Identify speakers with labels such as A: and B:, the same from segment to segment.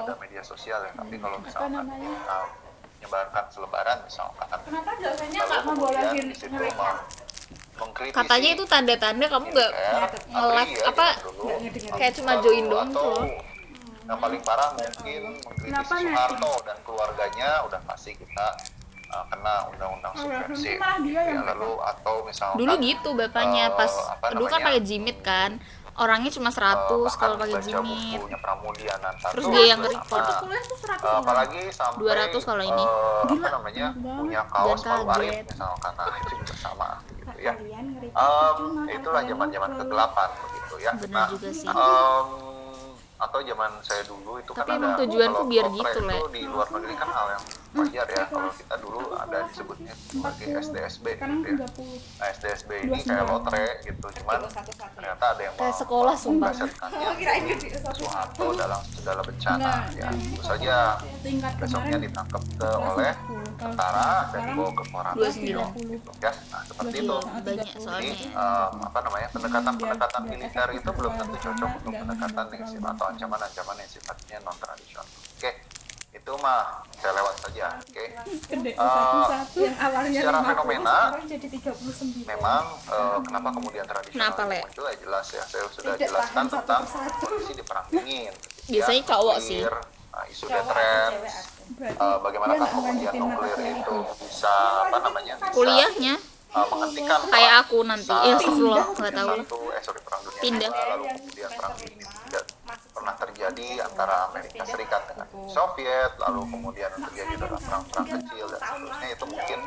A: media sosial ya tapi kalau
B: Apa
A: misalkan
B: namanya?
A: uh, menyebarkan selebaran misalkan
C: Kenapa dosennya
A: lalu
C: nggak
A: kemudian
C: ngebolehin
A: di situ
C: mereka?
A: meng- mengkritisi
D: Katanya itu tanda-tanda kamu nggak
A: ya,
D: nge-like
A: gitu
D: apa kayak cuma join doang tuh loh.
A: Yang paling parah mungkin mengkritisi
C: Kenapa nih?
A: Soeharto dan keluarganya udah pasti kita uh, kena undang-undang subversif.
C: malah dia
A: Ya,
C: yang
A: lalu atau misalnya
D: Dulu gitu bapaknya
A: Eh,
D: pas
A: apa
D: dulu kan
A: namanya? Eh,
D: pakai jimit kan. Orangnya cuma 100 kalau pakai jimit.
A: uh, bukunya Pramudia Ananta
D: Terus
A: tuh
D: dia yang
A: juga
D: nge-report.
A: sama.
C: Kuliah tuh
A: Eh,
C: 100 orang.
A: apalagi sampai
D: 200 kalau ini.
A: eh,
B: Gila,
A: apa namanya
B: enak banget.
A: punya kaos
D: Jangan
A: palu arit
D: kaget.
A: misalkan nah itu juga sama gitu ya
C: Kalian ngeri.
A: Em,
C: Cuma
A: itulah
C: kalian
A: zaman-zaman
C: ngobrol.
A: kegelapan begitu ya
D: Benar juga sih. Iya,
A: em, atau zaman saya dulu itu
D: Tapi
A: kan
D: emang
A: ada
D: tujuanku
A: kalau
D: biar
A: kopra
D: gitu,
A: itu
D: Le.
A: di luar negeri kan hal yang wajar ya kalau kita dulu ada disebutnya sebagai SDSB
C: Sekarang
A: gitu ya
C: 30.
A: nah SDSB ini kayak lotre gitu cuman ternyata ada yang
D: Kayak sekolah, sumpah.
A: melesetkannya
C: Oh, Kirain gede satu. Nah, iya.
A: Soeharto dalam segala bencana
B: Enggak,
A: ya
B: ini
A: tentu saja
B: tingkat
A: besoknya
B: kemarin
A: ditangkap ke oleh tentara dan dibawa ke Koran
D: 29.
A: gitu ya nah seperti itu
D: Banyak
A: jadi
D: soalnya. ya.
A: em, apa namanya pendekatan pendekatan
B: Biar- biar
A: militer
B: efektif
A: itu belum
B: kalau
A: tentu
B: berkembang
A: cocok untuk
B: dan
A: pendekatan yang
B: tidak terlalu
A: sifat atau ancaman ancaman yang sifatnya non tradisional oke itu mah saya lewat saja oke
B: gede
A: Ah,
B: satu satu yang awalnya
A: secara
B: 50,
A: fenomena,
B: sekarang jadi 39
A: memang eh, kenapa kemudian tradisional
D: Kenapa, Le?
A: itu muncul ya jelas ya saya sudah
C: Tidak
A: jelaskan
C: paham satu
A: tentang
C: persatu.
A: kondisi di perang dingin
D: Biasanya cowok sih.
A: nuklir, eh, isu
C: Cowok atau
A: deteren
C: cewek asli?
B: berarti
A: eh, bagaimana
B: Dia nggak
A: kemudian
B: lanjutin
A: nuklir
B: materi
A: itu
C: Iya,
A: bisa apa namanya bisa,
D: Kuliahnya
A: eh, menghentikan
D: kayak
A: perang
D: aku nanti.
A: Sa-
D: Ya, astagfirullah, nggak tahu.
A: Satu, eh, sorry, perang dunia
D: Pindah.
A: kedua, lalu kemudian perang dingin tidak pernah terjadi antara Amerika Serikat dengan Uni Soviet, lalu kemudian terjadi dalam perang-perang kecil dan seterusnya itu mungkin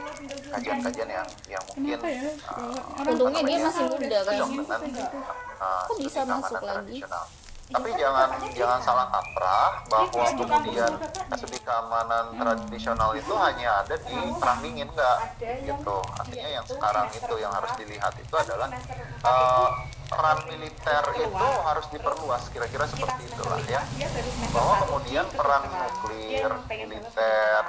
A: kajian-kajian yang yang mungkin
B: Kenapa ya?
A: eh,
B: Orang
D: Untungnya dia masih muda kan.
A: cocok dengan eh,
D: Kok bisa
A: studi keamanan
D: masuk lagi? Iya,
A: tradisional. Tapi jangan jangan salah kaprah bahwa kemudian
D: kan
A: studi keamanan
D: Hmm.
A: tradisional itu hanya ada di perang dingin enggak gitu.
D: iya,
A: Artinya yang sekarang itu yang harus dilihat itu
D: Kan
A: adalah eh, peran militer itu harus diperluas kira-kira seperti
D: Iya,
A: itulah ya bahwa kemudian peran nuklir, militer,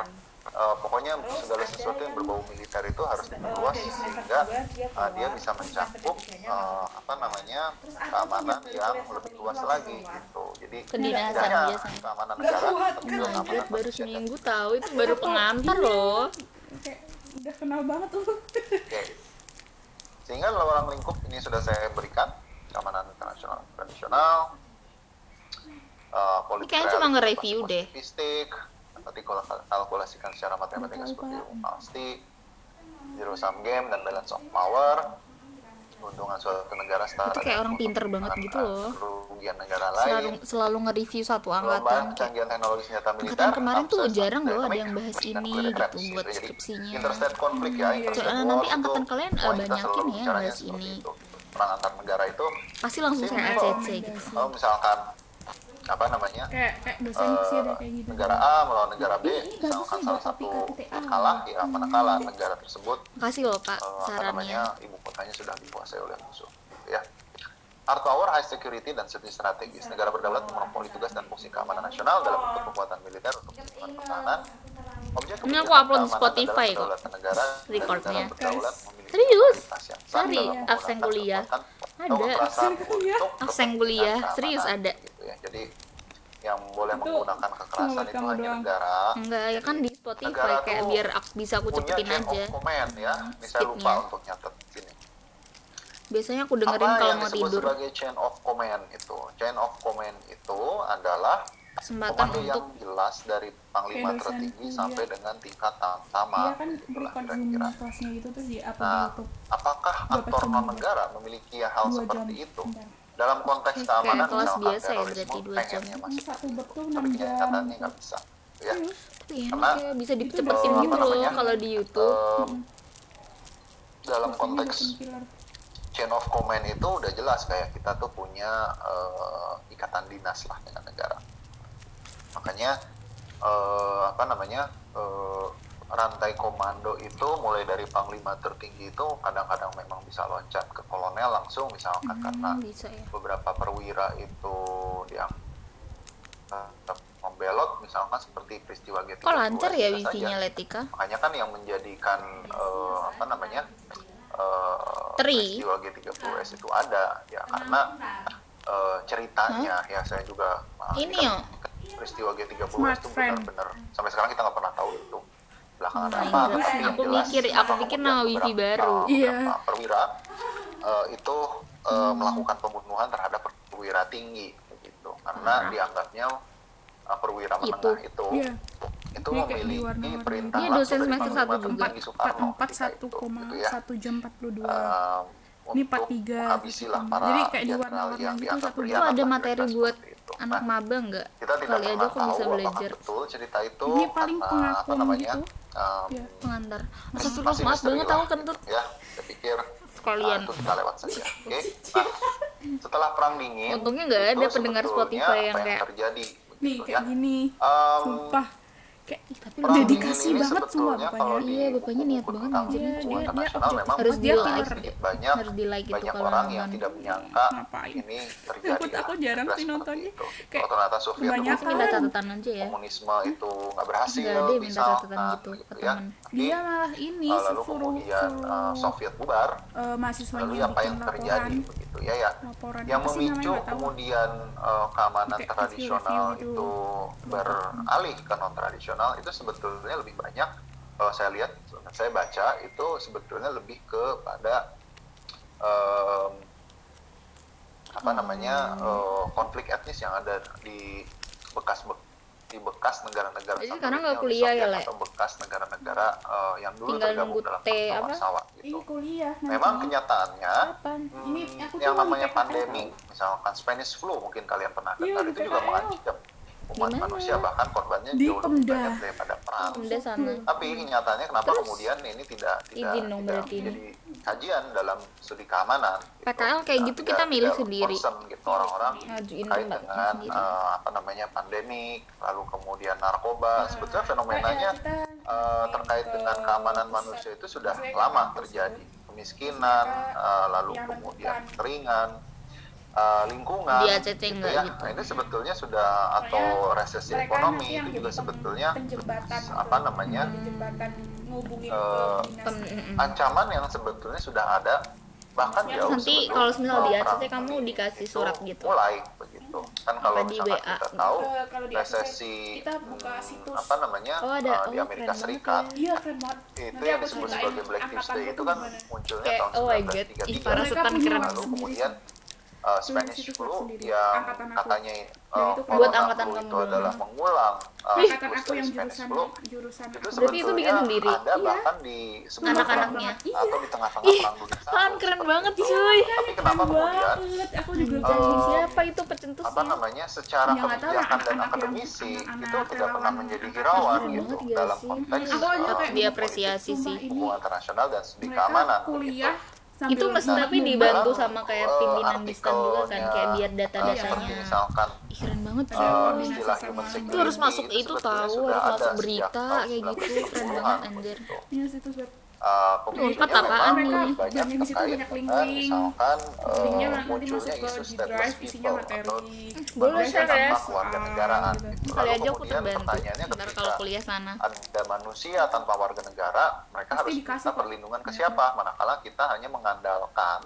A: eh, pokoknya segala sesuatu yang berbau militer itu harus diperluas sehingga eh, dia bisa mencakup eh, apa namanya keamanan yang lebih luas lagi gitu. Jadi tidak
D: Kedinasan
A: hanya
D: biasanya.
A: keamanan negara, tapi juga keamanan
D: Kampret, baru
A: manusia.
D: seminggu tahu itu baru pengantar loh.
A: iya.
B: kayak udah kenal banget tuh
A: Oke. Sehingga lorong lingkup ini sudah saya berikan keamanan internasional tradisional eh, politik
D: Kayaknya cuma
A: realistis,
D: nge-review deh.
A: positivistik, tadi kalau kal- kalkulasikan secara matematika seperti pasti zero sum game dan balance of power keuntungan suatu negara setara
D: Itu kayak
A: dengan
D: orang pinter banget
A: keuntungan,
D: gitu loh.
A: eh, kerugian negara
D: Selalu
A: lain
D: selalu nge-review satu
A: Perlombaan
D: angkatan kayak
A: canggih teknologi senjata militer.
D: Angkatan kemarin tuh
A: akses
D: jarang loh ada
A: akademik,
D: yang bahas
A: dan
D: ini
A: kuliner
D: gitu
A: gratis.
D: buat
A: Jadi,
D: skripsinya. Iya.
A: Interstate konflik ya. interstate
D: Soalnya
A: war
D: nanti
A: itu
D: angkatan kalian, eh,
A: semua kita
D: banyakin
A: selalu
D: ya yang
A: bicaranya
D: bahas
A: seperti
D: ini. Oh,
A: itu. Perang antar negara itu
D: pasti langsung saya
A: simpel.
D: ACC gitu.
A: Kalau misalkan apa namanya?
B: kayak kayak dosen sih ada kayak
A: eh,
B: gitu
A: negara A melawan negara B,
B: Ini
A: misalkan
B: bagus nih,
A: salah
B: buat
A: satu
B: KPTA.
A: kalah, ya mana kalah negara tersebut
D: Makasih loh Kak
A: eh, apa namanya
D: sarannya.
A: ibu kotanya sudah dikuasai oleh musuh gitu ya hard power high security dan studi strategis
D: Iya.
A: negara berdaulat monopoli tugas dan fungsi keamanan nasional dalam bentuk kekuatan militer untuk melakukan pertahanan objek
D: Iya, Ini
A: kebijakan
D: aku upload di
A: keamanan
D: Spotify
A: adalah kedaulatan negara dan
D: recordnya.
A: negara berdaulat memiliki
D: Serius?
A: otoritas yang sah
D: Cari
A: dalam menggunakan
D: absen kuliah.
A: kekuatan
D: Ada.
A: atau kekerasan
B: Absen kuliah.
A: untuk
D: Absen kuliah.
A: kepentingan
D: Serius
A: keamanan,
D: ada.
A: gitu ya. jadi yang boleh
B: Itu
A: menggunakan kekerasan
B: buat
A: itu
B: kamu
A: hanya
B: doang.
A: negara
D: Enggak, ya kan di
A: Negara
D: Spotify kayak
A: tuh
D: biar aku bisa aku
A: punya
D: cepetin
A: chain of
D: aja.
A: command ya ini saya lupa
D: Skipnya.
A: untuk nyatet sini
D: Biasanya aku dengerin
A: apa
D: kalau
A: yang
D: mau
A: disebut
D: tidur.
A: sebagai chain of command itu chain of command itu adalah
D: Kesempatan
A: komando
D: untuk
A: yang jelas dari panglima
B: Kayak dosen
A: tertinggi
B: tuh dia-
A: sampai dengan tingkat
B: dia
A: tama
B: kan
A: Itulah
B: record zoom
A: kira-kira
B: kelasnya gitu terus di upload di
A: nah
B: YouTube
A: apakah
B: Dua
A: aktor
B: pertemuan.
A: non negara memiliki hal
B: Dua
A: seperti
B: jam.
A: itu
B: Bentar.
A: dalam konteks
D: Kayak
A: keamanan
D: kelas
A: misalkan
D: biasa ya,
A: terorisme
D: berarti dua
A: pengennya
D: jam.
A: masih
B: satu bed tuh enam
A: tapi
B: jam
A: kenyataannya nggak bisa ya
D: Iya,
A: Karena
D: kayak bisa
B: itu
D: dicepetin
B: doang,
D: gitu
B: apa
D: loh
A: namanya?
D: kalau di YouTube.
A: Em, dalam
B: Dosennya dosen
A: konteks
B: killer.
A: chain of command itu udah jelas kayak kita tuh punya eh, ikatan dinas lah dengan negara makanya eh, apa namanya eh, rantai komando itu mulai dari panglima tertinggi itu kadang-kadang memang bisa loncat ke kolonel langsung misalkan eh, karena
D: Hmm, bisa ya.
A: beberapa perwira itu yang eh, membelot misalkan seperti peristiwa G32
D: Kok lancar ya
A: kita saja.
D: wifi-nya Letika?
A: makanya kan yang menjadikan eh, apa namanya eh,
D: Teri.
A: peristiwa G30S itu ada ya karena eh, ceritanya ya saya juga ah,
D: Ini
A: kan
D: yo,
A: peristiwa G30
B: Smart
A: itu
B: friend.
A: benar-benar sampai sekarang kita nggak pernah tahu itu belakangan
D: Oh my
A: apa
D: God.
A: tapi yang
D: Aku
A: jelas
D: mikir- aku
A: memang
D: pikir
A: kemudian
D: nama Widi
A: beberapa-
D: baru.
B: Iya.
A: beberapa perwira eh, itu eh,
D: Hmm.
A: melakukan pembunuhan terhadap perwira tinggi gitu karena
D: Hmm.
A: dianggapnya eh, perwira menengah itu itu,
B: Iya. Dia kayak
A: memiliki
B: diwarna-warni.
A: perintah
D: Dia
A: langsung
D: dosen
A: dari
D: semester
A: Panglima
D: satu juga.
A: Tertinggi Soekarno
B: empat
A: ketika
B: satu
A: itu,
B: koma
A: gitu ya.
B: satu jam empat puluh dua
A: Eh,
B: Ini
A: untuk
B: part tiga,
A: menghabisi lah
B: gitu.
A: para
B: Jadi kayak
A: jenderal yang
B: diwarna-warni gitu,
A: dianggap
B: satu
A: berkhianat
D: Itu ada
A: pada
D: materi
A: negara
D: buat
A: Iya, seperti itu.
D: anak
A: Nah,
D: maba nggak?
A: kita tidak
D: Kali
A: pernah
D: aja aku
A: tahu
D: bisa
A: apakah
D: belajar.
A: betul cerita itu
B: Ini paling
A: karena, apa
B: pengakuan
A: namanya
B: gitu.
A: em,
B: Iya.
D: Pengantar.
A: Hmm, masih-
D: Astagfirullah,
A: masih
D: maaf
A: misteri
D: banget
A: lah,
D: aku kentut.
A: gitu ya saya pikir
D: Sekalian.
A: ah, itu kita lewat saja oke Nah, setelah perang dingin
D: Untungnya nggak
A: itu
D: ada pendengar
A: sebetulnya
D: Spotify yang
A: apa
D: kayak,
A: terjadi gitu
B: nih
A: ya.
B: kayak gini
A: Em,
B: sumpah kayak
D: Tapi
A: perang dingin
B: dedikasi
A: ini
B: banget semua
A: sebetulnya
B: bapaknya.
A: ya, kalau
D: Iya, bapaknya
A: di
D: niat
A: buku
D: banget
A: tentang
B: nih. Dia-
A: hubungan
B: dia- dia
A: internasional
B: objektif
A: memang
D: Harus
B: banget.
A: ada
D: di-like.
A: sedikit banyak
D: harus di like itu
A: banyak
D: kalau
A: orang yang
D: nonton.
A: tidak menyangka
B: Ngapain?
A: ini terjadi
B: Takut aku
A: ya,
B: jarang
A: kelas
B: sih
A: seperti
B: nontonnya.
A: itu.
B: Kayak
A: kalau ternyata Soviet
B: kebanyakan.
A: dulu
D: Aku minta catatan aja ya.
A: komunisme itu nggak berhasil
D: Nggak ada yang minta
A: misalkan
D: catatan gitu ke
A: ya.
D: temen.
B: dia malah ini
A: Nah, lalu
B: suruh
A: kemudian eh,
B: suruh
A: Soviet bubar
B: eh, mahasiswanya
A: lalu
B: bikin
A: apa yang terjadi
B: laporan
A: begitu ya ya
B: laporan
A: yang
B: apa sih namanya
A: memicu
B: nggak tahu
A: kemudian eh, keamanan
B: Kayak
A: tradisional
B: review-review gitu.
A: itu beralih ke non tradisional itu sebetulnya lebih banyak kalau saya lihat saya baca itu sebetulnya lebih kepada em, apa
B: Hmm.
A: namanya eh, konflik etnis yang ada di bekas di bekas negara-negara satelitnya
D: Jadi sekarang nggak
A: Uni
D: kuliah ya,
A: Soviet
D: Le?
A: atau bekas negara-negara eh, yang dulu
D: Tinggal
A: tergabung
D: nunggu
A: dalam
D: teh,
A: Kesatuan
D: apa?
A: Warsawa, gitu.
B: ini kuliah nanti
A: memang kenyataannya
B: kapan ini
A: Hmm, yang
B: aku tuh lagi
A: namanya
B: PKL.
A: pandemi, misalkan Spanish flu mungkin kalian pernah
B: Iya,
A: dengar
B: di
A: itu juga
B: PKL.
A: mengancam umat
D: Gimana?
A: manusia bahkan korbannya
B: Di
A: jauh lebih
B: Pemda.
A: banyak daripada perang.
D: Udah sana.
A: Tapi nyatanya kenapa
D: Hmm. Terus?
A: kemudian ini tidak tidak,
D: Izin dong
A: tidak
D: berarti ini.
A: menjadi kajian dalam studi keamanan. gitu.
D: PKL kayak gitu
A: Tidak-
D: kita milih
A: tidak
D: sendiri. Iya,
A: concern gitu orang-orang
D: Ngajuin
A: kait
D: tempatnya
A: dengan
D: sendiri.
A: eh, apa namanya pandemi, lalu kemudian
D: Nah,
A: narkoba. Sebetulnya fenomenanya
B: Kayak kita
A: eh, terkait
B: ke
A: dengan keamanan
B: pusat.
A: manusia itu sudah
B: Maksudnya ke
A: lama
B: kampus
A: terjadi
B: gitu.
A: kemiskinan eh, lalu
B: yang
A: kemudian
B: menentukan.
A: keringan eh, lingkungan
D: Di Aceh enggak
A: ya.
D: gitu.
A: Nah, ini sebetulnya sudah atau resesi
B: mereka nanti
A: ekonomi itu
B: yang jadi
A: juga
B: pem-
A: sebetulnya
B: penjembatan
A: apa
B: ke-
A: namanya
B: di jembatan ngubungin ke
A: Eh,
B: dinas.
D: Pem- mm-mm.
A: ancaman yang sebetulnya sudah ada bahkan
B: Nanti
A: jauh
D: Ya, nanti
A: sebelum,
D: kalau
A: eh,
D: misal di
A: perang
D: ACC kamu
A: ini.
D: dikasih
A: Itu
D: surat gitu.
A: mulai begitu kan kalau
D: di
A: misalkan
D: WA?
A: kita tahu
B: Eh, kalau di ACC,
A: resesi
B: kita buka
A: hmm,
B: situs.
A: apa namanya
D: Oh, ada.
A: eh, di
D: Oh,
A: Amerika
D: keren banget
A: Serikat
D: ya.
B: iya keren banget
A: itu
B: Nanti
A: yang
B: aku
A: disebut
B: ceritain
A: sebagai Black
B: angkatan
A: Tuesday
B: aku
A: itu
B: tuh
A: kan
B: gimana.
A: munculnya
D: Kayak
A: tahun
D: oh my god, ih
A: 1933
D: para
B: Mereka
D: setan
B: punya
D: keren.
A: lalu
B: sendiri.
A: kemudian uh,
B: Tulis
A: Spanish
B: itu
A: flu
B: sendiri.
A: yang
B: Iya, Angkatan aku.
A: katanya uh,
B: Dan itu
A: corona
D: Buat angkatan
A: flu
D: kamu
A: itu
D: doang.
A: adalah mengulang uh,
B: angkatan
A: siklus
B: aku
A: dari
B: yang
A: Spanish
B: jurusan
A: flu
B: jurusan
A: itu
B: aku.
D: Berarti itu bikin
A: sebetulnya
D: sendiri?
A: ada
B: Iya.
A: bahkan di sebelum
D: Anak-anaknya. Iya.
A: perang atau di tengah-tengah
D: Ih,
A: perang dunia satu
D: Apaan keren
A: seperti
D: banget
A: itu.
D: cuy.
A: tapi kenapa
B: Keren
A: kemudian
B: banget aku juga
A: Eh,
B: pengen
D: Siapa itu pencetusnya?
A: apa namanya secara
D: Iya,
B: Ya, nggak
A: kebijakan
B: tahu lah,
A: dan
B: anak-anak yang-
A: akademisi
B: anak-anak
A: itu tidak pernah
B: relawan,
A: menjadi
B: anak-anak
A: hirauan
D: keren
A: gitu
D: banget gak
A: dalam
D: sih? Iya,
A: konteks
B: Aku aja
A: uh,
B: kayak gitu,
D: diapresiasi
B: Sumpah,
D: sih.
B: ini
A: hubungan internasional dan studi keamanan begitu.
B: mereka kuliah sambil
D: itu mesti
A: Nah,
D: tapi
A: di
D: dibantu
A: dalam,
D: sama kayak
A: eh,
D: pimpinan distan juga kan
A: artikelnya,
D: kayak
A: Uh,
D: biar
A: seperti
D: data-datanya
A: misalkan
D: Ih, keren banget
B: Ada
D: cuy
A: uh,
B: koordinasi
A: istilah
B: sama
A: human security
D: itu harus masuk itu
A: sebetulnya
D: tahu
A: sudah
D: harus
A: ada
D: masuk
A: sejak
D: berita
A: tahun
D: kayak gitu keren
A: 1990-an
D: banget anjir
A: begitu.
B: Iya, situs web.
A: Uh,
D: Unpad
A: kemudian
D: apaan
A: memang
B: nih?
A: banyak
B: Dan di situ
A: terkait
B: banyak
A: dengan
B: link-link.
A: misalkan uh,
B: linknya nanti
A: munculnya
B: masuk ke
A: isu
B: di
A: stateless
B: drive isinya
A: people atau
B: materi
D: Boleh
A: manusia
D: share ya?
A: tanpa keluarga negaraan
B: Soal gitu.
D: kali aja aku terbantu
A: pertanyaannya
D: ntar kalau
A: ketika
D: kuliah sana
A: ada manusia tanpa warga negara, mereka
B: Pasti
A: harus
B: dikasih
A: minta
B: kok. Iya.
A: perlindungan ke siapa? Manakala kita hanya mengandalkan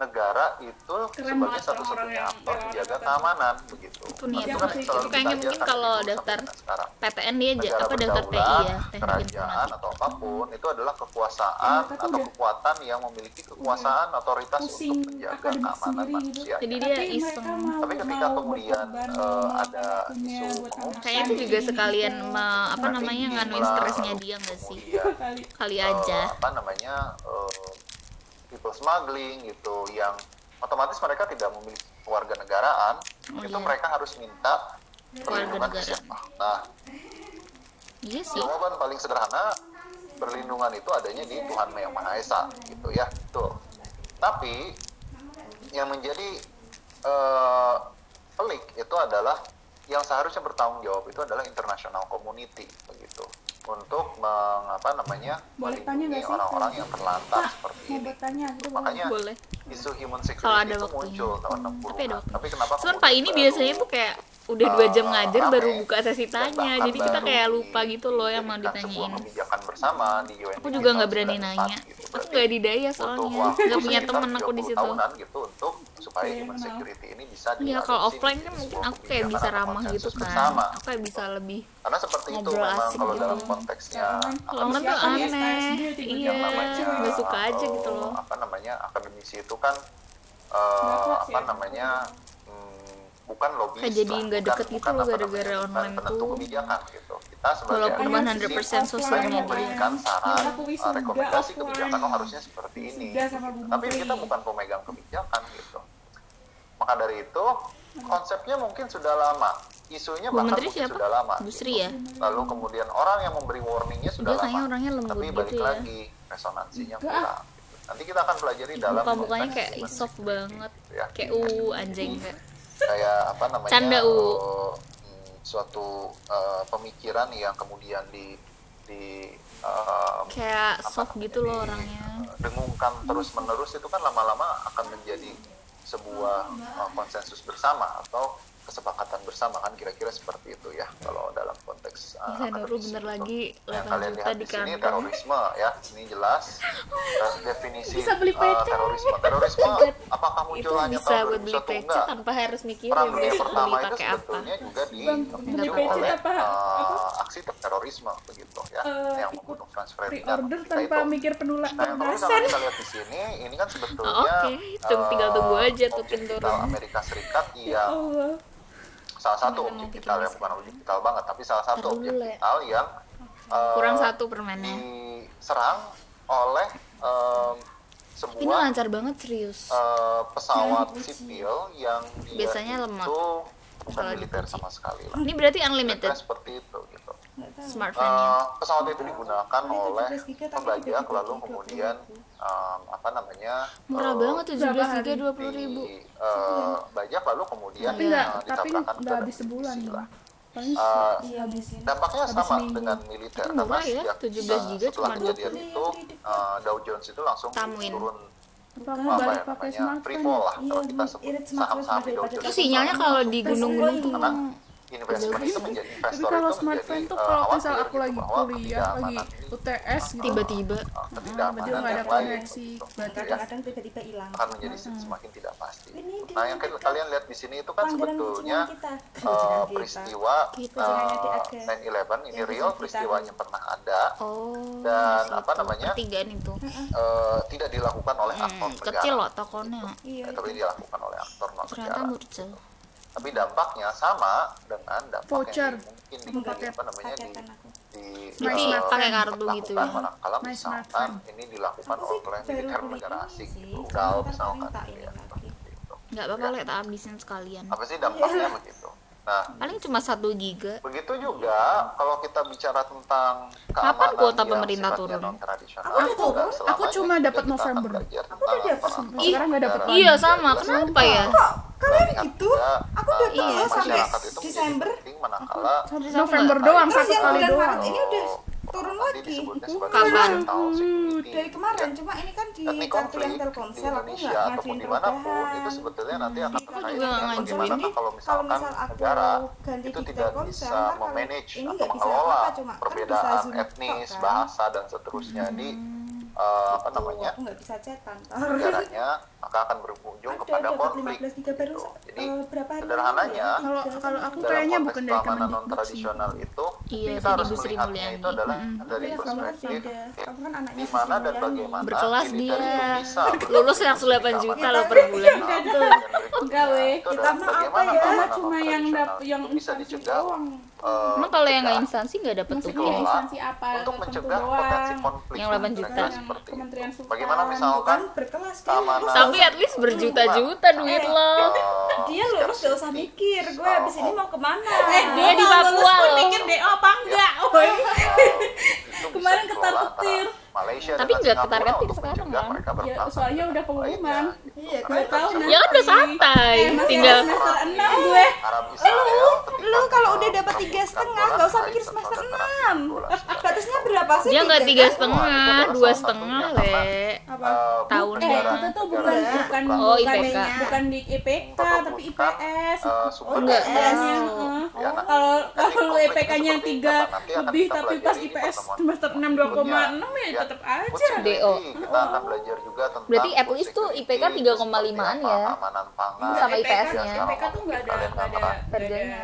A: negara itu sebagai
B: banget
A: satu-satunya
B: orang-orang yang ya,
A: aktor
B: relawan
A: penjaga
B: banget.
A: keamanan begitu.
D: Itu nih,
A: Itu
B: Bang.
A: kan selalu
B: Itu
D: kayaknya
A: dikajarkan
D: mungkin
A: dari
D: kalau
A: dulu sampai
D: daftar
A: dengan sekarang.
D: PTN dia aja
A: Negara
D: Eh, apa daftar PI
A: berdaulat,
D: ya teknik
A: kerajaan
D: informatika
A: atau apapun itu adalah kekuasaan
D: ya?
B: Mereka tuh
A: atau
B: udah
A: kekuatan yang memiliki kekuasaan
D: Iya.
A: otoritas
B: pusing
A: untuk menjaga
B: akademik
A: keamanan
B: sendiri gitu.
A: manusia.
D: Jadi dia
B: Tapi mereka
D: iseng.
B: mau-
A: Tapi ketika
B: mau
A: kemudian, eh,
B: berkorban, mau
A: ada
B: melakukan
A: isu
B: waktunya buat anak-anak
D: kayaknya itu juga
B: ini,
D: sekalian
B: gitu.
D: me- apa
A: Strategi
D: namanya nganuin
A: lah,
D: stresnya
A: lalu
D: dia nggak sih
A: Nah, kemudian,
B: Kali.
D: kali
A: eh,
D: aja
A: apa namanya eh, people smuggling gitu yang otomatis mereka tidak memiliki warga negaraan
D: Oh,
A: itu
D: iya.
A: mereka harus minta perlindungan ke
D: Kewarganegaraan.
A: siapa. Nah,
D: iya sih
A: jawaban paling sederhana perlindungan itu adanya di Tuhan yang Maha Esa gitu ya tuh tapi yang menjadi eh, pelik itu adalah yang seharusnya bertanggung jawab itu adalah international community begitu untuk mengapa namanya
B: Boleh tanya
A: melindungi
B: nggak sih?
A: orang-orang yang terlantar
B: Pak,
A: seperti
B: mau
A: ini
B: bertanya gitu
A: makanya
D: boleh
A: isu human
D: Kalau ada
A: security itu
D: waktunya.
A: muncul tahun 60
D: Tapi ada waktunya.
A: tapi kenapa
D: cuman
A: kemudian
D: pak ini
A: baru-
D: biasanya tuh kayak udah dua jam ngajar
A: Eh, rame, Iya,
D: baru buka sesi
A: dan
D: tanya
A: bahkan
D: jadi kita
A: baru
D: kayak lupa gitu loh yang mau
A: dijadikan sebuah
D: ditanyain
A: kebijakan bersama di UN
D: aku juga
A: tahun
D: nggak berani
A: 94
D: nanya
A: gitu.
D: aku
A: Berarti
D: nggak didaya
A: butuh
D: soalnya
A: waktu
D: nggak punya
A: sekitar
D: temen aku di
A: 30
D: situ
A: tahunan gitu untuk supaya
B: Iya,
A: human
B: maaf.
A: security ini bisa
D: Iya
A: diadopsi
D: kalau
A: di
D: offline kan mungkin
A: sebuah
D: aku kayak
A: kebijakan
D: bisa
A: atau
D: ramah gitu
A: konsensus
D: kan.
A: bersama.
D: Aku kayak bisa lebih
A: Karena seperti itu
D: Ngobrol
A: memang
D: asik
A: kalau
D: gitu.
A: dalam konteksnya
D: kalau kan tuh
A: ya?
B: Siapa nih?
D: aneh. Iya,
A: yang namanya
D: nggak suka aja
A: eh,
D: gitu loh.
A: Apa namanya akademisi itu kan eh,
B: Nggak
A: apa
B: kuat ya.
A: namanya hmm, bukan lobby
D: Kayak jadi nggak deket gitu loh gara-gara online
A: penentu
D: tuh.
A: kebijakan gitu. Kita sebagai
D: Walaupun
A: akademisi
D: 100%
A: hanya
D: sosial media.
A: memberikan saran,
B: Kita kuis
A: eh,
B: juga
A: rekomendasi
B: offline.
A: kebijakan oh, harusnya seperti ini.
B: Sudah sama Bu
A: Tapi
B: Menteri.
A: kita bukan pemegang kebijakan gitu. Maka dari itu konsepnya mungkin sudah lama, isunya
D: Bu
A: bahkan
D: Menteri
A: mungkin
D: siapa?
A: sudah lama.
D: Bu
A: gitu.
D: Sri ya?
A: Lalu kemudian orang yang memberi warningnya sudah
D: Dia kayaknya
A: lama.
D: orangnya lembut
A: Tapi balik
D: gitu ya.
A: lagi resonansinya
B: Enggak.
A: kurang. gitu. Nanti kita akan pelajari dalam
D: Muka-mukanya
A: konteks Iya.
D: kayak
A: human
D: soft
A: security,
D: banget.
A: gitu ya.
D: Kayak uh anjing kayak.
A: Kayak apa namanya?
D: Canda, U.
A: eh, hmm, suatu eh, pemikiran yang kemudian di di eh,
D: Kayak
A: apa
D: soft
A: namanya,
D: gitu
A: di-
D: loh
A: eh,
D: orangnya.
A: dengungkan terus menerus itu kan lama-lama akan menjadi sebuah uh, konsensus bersama atau kesepakatan bersama kan kira-kira seperti itu ya kalau dalam konteks uh,
D: Bisa Nurul
A: akademisi
D: bentar
A: gitu.
D: lagi
A: yang
D: 8
A: kalian
D: juta
A: lihat
D: di
A: di sini
D: kantong.
A: terorisme ya ini jelas uh, definisi
B: Bisa beli
A: uh,
B: pecel.
A: terorisme terorisme
D: Buat
A: apakah
D: Itu
A: munculnya
D: bisa
A: tahun
D: buat beli
A: 2001?
D: pecah kan?
A: enggak
D: tanpa harus mikirin
A: perang dunia pertama
D: beli
A: itu
D: pakai apa.
A: sebetulnya juga
B: Bang, beli
A: dipicu
B: pecel
A: oleh
B: apa? Apa?
A: uh, aksi terorisme begitu ya
B: Eh,
A: yang
B: ikut
A: membunuh Franz Ferdinand
B: Pre-order
A: ketika
B: tanpa
A: itu.
B: mikir penula-
A: Nah, yang kalau
B: pelunasan.
A: misalnya kita lihat di sini, ini kan sebetulnya eh,
D: Oh, oke. Tunggu- tinggal tunggu aja tuh
A: objek
D: pintu
A: vital
D: rumah.
A: Amerika Serikat
B: Ya
A: yang
B: Allah.
A: salah satu objek
D: Beneran mau bikin
A: vital yang
D: bisnis.
A: bukan objek vital banget, tapi salah satu
D: Ntar
A: objek
D: dulu ya.
A: vital yang eh,
D: Kurang satu permennya.
A: diserang oleh eh, em,
D: Ini
A: sebuah
D: lancar banget serius.
A: eh, pesawat
B: Jangan dikunci.
A: sipil yang dia
D: Iya, Biasanya
A: itu
D: lemot.
A: bukan
D: Kalau
A: militer
D: dikunci.
A: sama sekali lah.
D: Ini berarti
A: Kira-kira
D: unlimited
A: seperti itu gitu.
D: smartphone-nya.
A: Eh, pesawat itu digunakan
C: Ini
A: oleh
C: 17 giga, tapi
A: pembajak
C: udah
A: lalu
C: dibagi
A: kemudian
B: gitu.
A: em, apa namanya
D: Murah
A: eh,
D: banget 17 giga
B: hari?
D: 20 ribu.
A: di eh, bajak lalu kemudian
B: Tapi nggak,
A: eh,
B: tapi
A: ditabrakan ke
B: nggak
A: dalam
B: habis sebulan.
A: kondisi lah.
B: Paling
A: Eh,
C: Iya, di sini.
A: dampaknya
B: Habis
A: sama
B: seminggu.
A: dengan militer
D: Tapi
A: karena
D: murah ya,
A: sejak
D: 17
A: eh,
D: giga
A: setelah
D: cuma
A: kejadian itu eh, Dow Jones itu langsung
D: Tamuin.
A: turun
B: Kamu
A: apa
B: Nah, balik
A: ya
B: pakai
A: namanya free
B: smartphone.
A: fall lah kalau
C: Iya,
A: kita
C: Bu.
A: sebut
C: Irit smartphone
A: saham-saham di Dow
C: daripada
A: Jones
D: Itu
C: Terus
D: sinyalnya kalau di gunung-gunung tuh
A: karena investment itu menjadi Nah, investor
B: Iya. Tapi kalau
A: itu menjadi,
B: smartphone tuh
A: eh,
B: kalau
A: khawatir
B: misal aku
A: gitu
B: lagi
A: bahwa
B: kuliah, lagi
A: ketidakamanan ini,
B: UTS gitu.
D: tiba-tiba.
A: eh,
B: Tiba-tiba
A: ketidakamanan
B: nggak ada
A: yang lain,
B: koneksi.
A: gitu,
B: Baterai
A: ya.
C: kadang tiba-tiba hilang.
A: akan menjadi semakin tidak pasti.
C: Ini
A: Nah, yang
C: dia.
A: kalian lihat di sini itu kan
C: Pelanggaran
A: sebetulnya
C: kecurangan kita.
A: eh,
C: Kecurangan kita.
A: peristiwa
D: Kita.
A: eh,
C: Kecurangan
A: 9/11 ini
C: Yang
A: real
C: kita.
A: peristiwanya pernah ada
D: Oh,
A: Dan
D: situ.
A: apa namanya?
D: Pertigaan itu.
A: eh, tidak dilakukan oleh aktor
D: Hmm,
A: negara,
D: kecil loh tokonya.
C: Iya,
A: Eh, tapi dilakukan oleh aktor non
D: Ternyata
A: negara.
D: murcel.
A: Tapi dampaknya sama dengan dampak
B: Voucher.
A: yang mungkin di,
B: Pakai-
A: apa namanya di,
C: paketan aku.
A: di
D: Tapi
A: eh,
D: pakai kartu gitu
A: lakukan
D: ya.
A: manakala
B: My
A: misalkan
B: smartphone.
A: ini dilakukan
C: Aku sih
A: oleh
C: baru
A: militer
C: beli
A: negara
C: ini
A: asing,
C: sih,
A: rudal
C: sebentar
A: misalkan
C: paling tak
A: gitu
C: ini
A: ya,
C: lagi.
A: gitu.
D: Nggak apa-apa lah, tak habisin sekalian.
A: apa sih dampaknya
B: Iya.
A: begitu? Nah,
D: Paling cuma satu giga.
A: begitu juga kalau kita bicara tentang
D: Kapan
A: keamanan
D: kuota
A: yang
D: pemerintah
A: sifatnya
D: turun?
A: non-tradisional,
B: Aku udah turun.
A: juga selama
B: Aku
A: ini
B: cuma
A: juga
B: dapat
A: ya. kita akan
B: November.
A: belajar
C: Aku udah
A: tentang
C: dapat
A: apa-
C: November.
D: Ih,
B: Sekarang nggak dapat lagi.
D: Iya sama, kenapa ya?
C: Kok kalian
A: Lihat
C: itu?
A: juga,
C: Aku
A: eh,
C: udah
A: nah,
C: iya, sampai
A: masyarakat itu menjadi
C: Desember.
A: penting manakala
D: Terus aku
B: November
A: nggak-
B: doang,
C: Terus
B: satu
C: yang
B: kali
C: bulan
B: doang.
C: Maret ini udah turun
A: nanti
C: lagi. gitu. Hmm,
A: disebutnya sebagai
D: Kapan?
A: mental security.
C: Dari kemarin,
A: Ya,
C: cuma ini kan di
A: Etnik
C: kartu
A: konflik
C: yang
A: di
C: Telkomsel aku
A: Indonesia
C: nggak
A: ataupun
C: ngajuin
A: dimanapun
C: perubahan. Hmm.
A: itu sebetulnya nanti akan
D: Aku
A: terkait
D: juga
A: dengan
D: nggak ngajuin.
A: bagaimana
C: Jadi,
A: kalau
C: kalau
A: misalkan
C: misal aku
A: negara
C: ganti
A: itu
C: di
A: tidak
C: Telkomsel,
A: bisa
C: ntar kalau
A: memanage atau
C: ini nggak bisa
A: mengelola
C: apa-apa, cuma kan bisa
A: perbedaan
C: Zoom tok,
A: etnis,
C: kan?
A: bahasa dan seterusnya di eh, apa namanya
C: Aku nggak bisa cetan.
A: negaranya maka akan berujung
C: Ada,
A: kepada
C: dapat
A: konflik.
C: 15 giga baru,
A: gitu.
C: eh,
A: Jadi
C: berapa hari
A: sederhananya
C: lalu ya?
B: Kalau kalau aku
A: dalam
B: kayaknya
A: konteks
B: bukan dari
A: keamanan non
B: Kemendikbud sih.
A: tradisional itu
D: Iya,
A: kita
D: Sri
A: harus
D: Bu Sri
A: melihatnya
D: Mulyani.
A: itu adalah dari
C: Iya, kamu kan
A: perspektif
C: beda. Kamu kan anaknya
A: di mana dan
C: Sri Mulyani.
A: bagaimana
D: Berkelas
A: militer
D: dia.
A: itu bisa
D: Lulus yang 8 juta loh per bulan.
A: Iya.
B: Enggak, weh. Kita mah apa ya? Cuma yang dap- yang
A: bisa
B: instansi
A: dicegah
B: doang.
A: eh,
D: Emang kalau yang nggak
A: mencegah
D: instansi nggak dapet tuh.
B: Maksudnya
A: Dikelola
B: instansi apa
A: untuk
B: tertentu
A: mencegah
B: doang.
A: potensi konflik
D: Yang 8 juta.
A: Kira-kira
B: Yang
A: seperti itu.
B: Kementerian Sultan.
A: bagaimana
C: Bukan
A: misalkan
C: kan, berkelas dia.
A: keamanan
D: Tapi at least berjuta-juta duit lo.
A: eh,
C: Dia lulus gak usah mikir, gue
A: Oh,
C: abis ini mau kemana Eh,
D: Dia di Papua loh.
B: DO apa enggak? Woi.
C: Kemarin ketar-ketir.
A: Malaysia
D: Tapi
A: dengan
D: nggak
A: Singapura
D: ketar-ketir
A: untuk
D: sekarang,
A: mencegah
D: Bang.
A: mereka
B: Ya,
A: berperang.
B: soalnya udah pengumuman.
C: Iya,
A: Nah,
C: gue
A: itu
C: tahu
A: bisa
D: Ya kan udah santai,
A: Iya,
D: tinggal
C: semester 6 gue
A: Arab Israel ketika
C: lu kalau udah
A: eh,
C: dapat tiga
A: merebutkan
C: setengah,
A: bola,
C: nggak usah
A: nah,
C: mikir
A: itu
C: semester
A: saudara
C: enam.
A: bola sudah.
C: Batasnya berapa sih?
D: dia nggak tiga
C: tiga kan?
D: setengah, dua setengah weh.
C: Apa?
A: Eh,
D: Tahun.
B: Eh, itu tuh bukan
A: negara-
B: bukan
D: Oh,
B: bukan, ya.
D: IPK.
B: bukan di
A: E
B: IPK tapi
A: Memperebutkan,
B: IPS.
A: eh, sumber
B: Enggak,
A: daya.
B: enggaknya, heeh.
A: Ya, nah,
B: eh. Kalau
A: tapi
B: kalau
A: konflik
B: IPK-nya
A: seperti
B: tiga
A: itu, nanti akan
B: lebih
A: kita
B: tapi pas
A: pelajari di
B: IPS
A: pertemuan
B: semester 6 2,6 ya tetap aja.
A: Food security,
D: DO.
A: Iya, Kita akan belajar juga tentang
D: Berarti at
A: food
D: least tuh
A: security,
D: IPK 3,6 3,5-an
A: seperti apa
D: ya.
A: keamanan pangan
D: Sama
A: ya,
D: IPS-nya.
A: segala
B: MPK tuh
A: macam kalian Iya.
B: nggak ada nggak ada
A: tambahkan.
B: nggak ada
D: Harganya.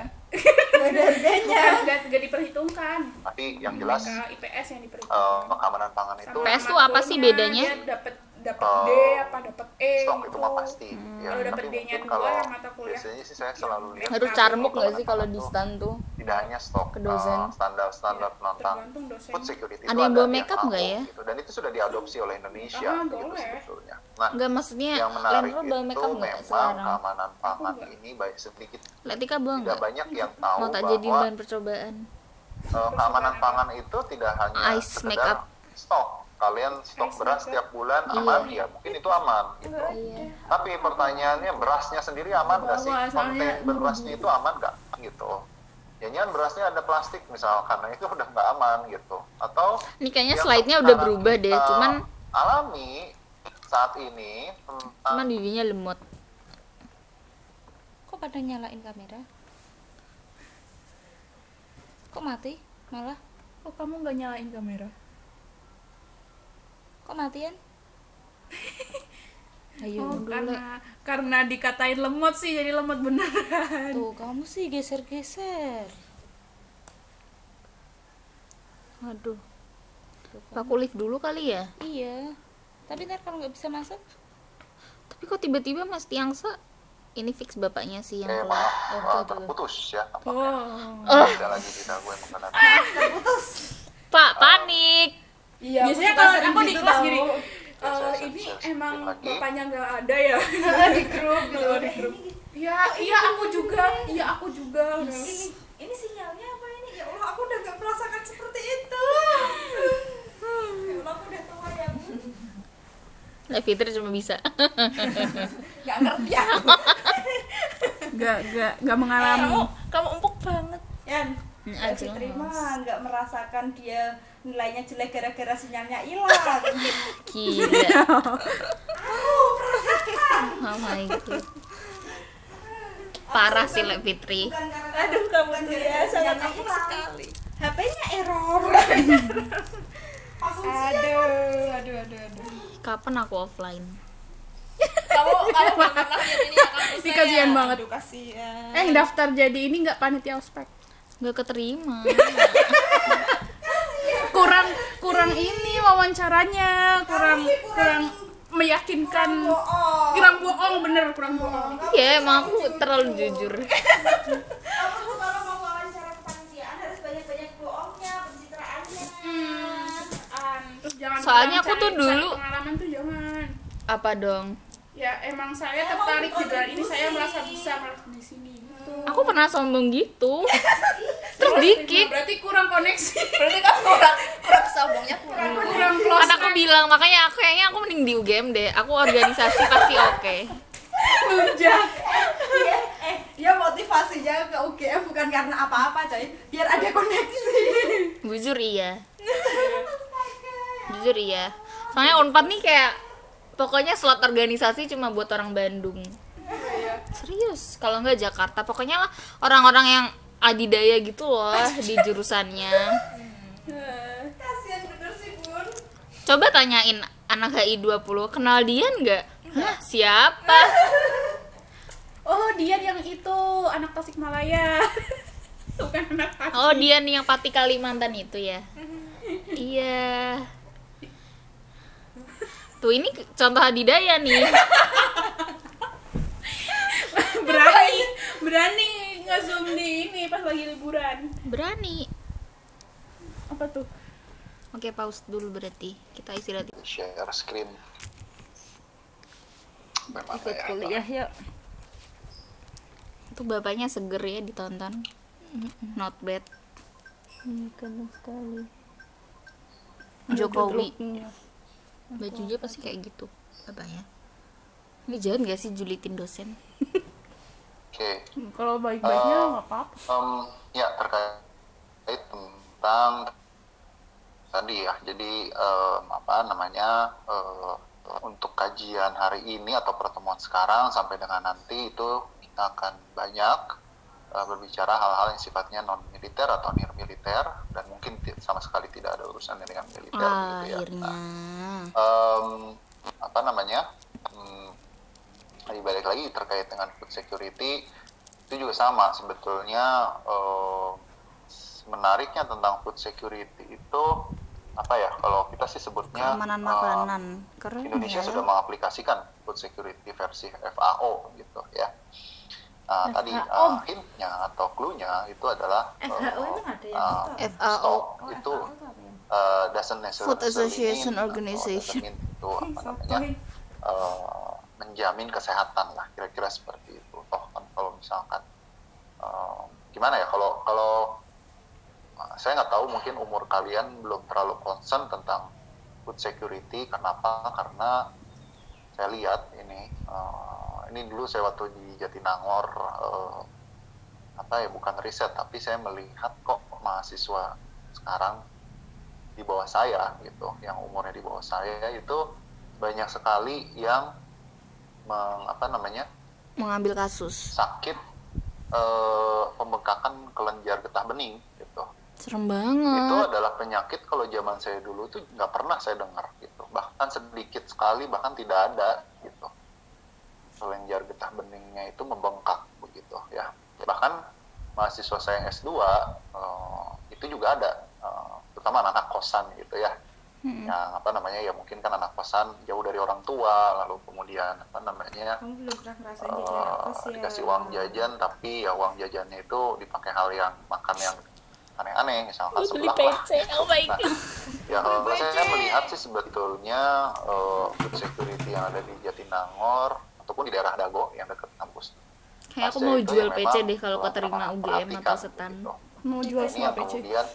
B: nggak nggak diperhitungkan
A: tapi yang jelas
B: MPK IPS yang
A: eh,
B: diperhitungkan
A: keamanan pangan itu
D: PS tuh apa sih bedanya?
B: dapat dapat
A: Eh,
B: D apa dapat E
A: stok itu mah
B: gitu.
A: pasti
D: Hmm.
A: ya,
B: Kalau dapet
A: tapi
B: D-nya
A: mungkin
B: dua,
A: kalau
B: yang mata kuliah.
A: biasanya sih saya selalu lihat
D: Harus carmuk nggak sih kalau di stand tuh?
A: tidak hanya stok
D: Ke dosen.
A: eh, standar-standar tentang
B: Iya, tergantung dosen
A: food security
D: Ada
A: itu
D: yang bawa
A: yang
D: makeup nggak
A: mampu,
D: ya?
A: gitu. dan itu sudah diadopsi oleh Indonesia
B: Ah,
A: gitu
B: boleh.
A: sebetulnya nah
D: Enggak maksudnya
A: yang
D: Len
A: menarik
D: lo
A: itu
D: bawa make up
A: memang
D: enggak sekarang?
A: keamanan pangan
B: Aku nggak.
A: ini baik sedikit
D: Letika bawa
A: tidak
D: enggak?
A: banyak yang tahu
D: Mau tak
A: bahwa
D: jadi bahan percobaan.
A: eh, keamanan pangan itu tidak hanya
D: Ice
A: sekedar
D: makeup.
A: stok kalian stok
B: Ice
A: beras
B: makeup.
A: tiap bulan aman ya mungkin itu aman gitu
D: Iya.
A: tapi pertanyaannya berasnya sendiri aman nggak sih
B: Bawa,
A: konten
B: soalnya-
A: berasnya itu aman nggak gitu ya jangan berasnya ada plastik misalkan nah itu udah nggak aman gitu atau
D: Ini kayaknya
A: yang
D: slide-nya udah
A: sekarang
D: berubah deh,
A: kita ah.
D: cuman
A: alami saat ini tentang
D: cuman bibinya lemot. Kok pada nyalain kamera? Kok mati? Malah
B: kok kamu nggak nyalain kamera
D: kok matian? Ayo
B: Oh,
D: dulu Le.
B: karena karena dikatain lemot sih jadi lemot beneran.
D: Tuh, kamu sih geser-geser. Aduh. Paku lift dulu kali ya?
E: Iya. Tapi ntar kalau nggak bisa masuk,
D: Tapi kok tiba-tiba Mas Tiangsa ini fix bapaknya sih yang
A: eh
D: keluar.
A: maaf
E: Oh,
A: eh, terputus ya
D: Iya.
A: tampaknya
B: Oh.
A: tidak lagi tidak gue mengenal
D: Ah. Pak, panik.
B: Iya.
C: aku
B: Biasanya
C: suka
B: kalau
C: sering
B: aku di
C: gitu
B: kelas
C: tahu.
B: gini,
A: Ya,
B: "Eh,
A: saya
B: ini
A: share screen
B: emang
A: lagi.
B: bapaknya nggak ada ya.
C: di grup gitu
B: Di grup. Ya, iya aku juga, iya aku juga.
C: ini ini sinyalnya apa ini ya Allah aku udah gak merasakan seperti itu ya Allah aku udah tua ya Bu.
D: Lah Nah, Fitri cuma bisa.
C: gak ngerti aku
B: Gak gak gak mengalami.
E: Oh,
D: kamu empuk banget.
C: Yan
D: Hmm,
C: ya
D: aja.
C: diterima gak merasakan dia nilainya jelek gara-gara sinyalnya hilang
D: Gila. oh my god. Parah sih Le Fitri.
C: bukan karena aduh kamu tuh ya sangat sekali HP-nya error
B: Aduh,
C: kan
B: aduh, aduh, aduh.
D: Kapan aku offline?
F: kamu kamu belum pernah jadi ini ya kampus
B: Ini kasihan banget.
C: aduh kasihan
B: Eh, daftar jadi ini nggak panitia ospek.
D: Nggak keterima.
B: Kurang kurang ini wawancaranya, kurang
C: sih
B: kurang
C: kurang-
B: meyakinkan.
C: Kan bohong
B: Kurang bohong bener, kurang bohong.
D: ya emang aku terlalu jujur.
C: kamu tuh kalau mau wawancara kepanitiaan harus banyak-banyak bohongnya pencitraannya Hmm.
B: Terus jangan
D: Soalnya
B: kurang
D: aku tuh
B: cari- cari
D: dulu-
B: pengalaman tuh jangan.
D: Apa dong?
B: Ya emang saya
C: Emang
B: tertarik di bidang ini,
C: kontribusi.
B: saya merasa bisa merasa di sini gitu.
D: Aku pernah sombong gitu. Terus dikit.
B: Berarti kurang koneksi.
F: berarti
B: kan
F: kamu kurang kurang sombongnya kurang
B: kurang close.
D: Kan aku bilang makanya aku kayaknya aku mending di UGM deh. Aku organisasi pasti oke.
C: Iya, eh dia motivasinya ke UGM bukan karena apa-apa coy biar ada koneksi
D: Jujur iya. Jujur iya. Soalnya Unpad nih kayak pokoknya slot organisasi cuma buat orang Bandung. Serius, kalau nggak Jakarta, pokoknya lah orang-orang yang adidaya gitu loh di jurusannya.
C: kasihan bener sih bun
D: Coba tanyain anak HI 20, kenal Dian nggak? Hah, siapa?
B: Oh, dia yang itu anak Tasikmalaya. Bukan anak Tasik.
D: Oh, Dian yang Pati Kalimantan itu ya. Iya. Tuh ini ke- contoh adidaya nih.
B: Berani, berani nge-zoom di ini pas lagi liburan.
D: Berani.
B: Apa tuh?
D: Oke, pause dulu berarti. Kita istirahat.
A: share screen memang
D: Ikut
A: ya
D: kuliah yuk. Itu bapaknya seger ya ditonton. Not bad. sekali. Jokowi. Bajunya pasti kayak gitu bapaknya. Ini jangan gak sih julitin dosen?
A: oke
G: Hmm,
B: Kalau baik-baiknya
A: Eh,
B: nggak apa-apa.
A: em, ya terkait tentang tadi ya jadi em, apa namanya eh, untuk kajian hari ini atau pertemuan sekarang sampai dengan nanti itu kita akan banyak eh, berbicara hal-hal yang sifatnya non militer atau nir militer dan mungkin ti- sama sekali tidak ada urusan dengan militer Nah,
D: Ah,
A: gitu ya. Nah,
D: akhirnya.
A: em, apa namanya em, Tadi balik lagi terkait dengan food security itu juga sama sebetulnya eh, menariknya tentang food security itu apa ya kalau kita sih sebutnya
D: keamanan
A: eh,
D: makanan keren
A: Indonesia
D: ya.
A: sudah mengaplikasikan food security versi FAO gitu ya. Nah, tadi uh, hintnya atau clue-nya itu adalah uh,
C: FHO emang ada yang
A: uh,
C: kita?
D: FAO
A: stock
C: Oh,
A: itu
C: ya?
A: uh, doesn't necessarily
D: Food Association
A: mean, atau
D: Organization.
A: doesn't mean itu apa namanya uh, menjamin kesehatan lah kira-kira seperti itu. Toh kan kalau misalkan uh, gimana ya kalau kalau eh, saya nggak tahu mungkin umur kalian belum terlalu concern tentang food security kenapa karena saya lihat ini eh, ini dulu saya waktu di Jatinangor eh, apa ya bukan riset tapi saya melihat kok mahasiswa sekarang di bawah saya gitu yang umurnya di bawah saya itu banyak sekali yang meng- apa namanya
D: mengambil kasus
A: sakit eh, pembengkakan kelenjar getah bening gitu itu
D: serem banget
A: adalah penyakit kalau zaman saya dulu tuh nggak pernah saya dengar gitu bahkan sedikit sekali bahkan tidak ada gitu kelenjar getah beningnya itu membengkak begitu ya bahkan mahasiswa saya yang S2 eh, itu juga ada eh, terutama anak kosan gitu ya yang apa namanya ya mungkin kan anak kosan jauh dari orang tua lalu kemudian apa namanya
C: Kamu belum pernah ngerasain jadi ya?
A: eh,
C: apa sih?
A: dikasih uang jajan tapi ya uang jajannya itu dipakai hal yang makan yang aneh-aneh misalkan
D: beli
A: sebelah lah
D: PC oh my
A: Nah,
D: god
A: ya kalau saya melihat sih sebetulnya eh, food security yang ada di Jatinangor ataupun di daerah Dago yang dekat kampus.
D: kayak aku
A: Pasca
D: mau
A: itu
D: jual
A: ya
D: PC
A: memang
D: deh kalau
A: kurang
D: keterima
A: perhatikan,
D: UGM atau setan Iya,
A: gitu.
G: mau jual
A: Ini yang
G: semua PC
A: kemudian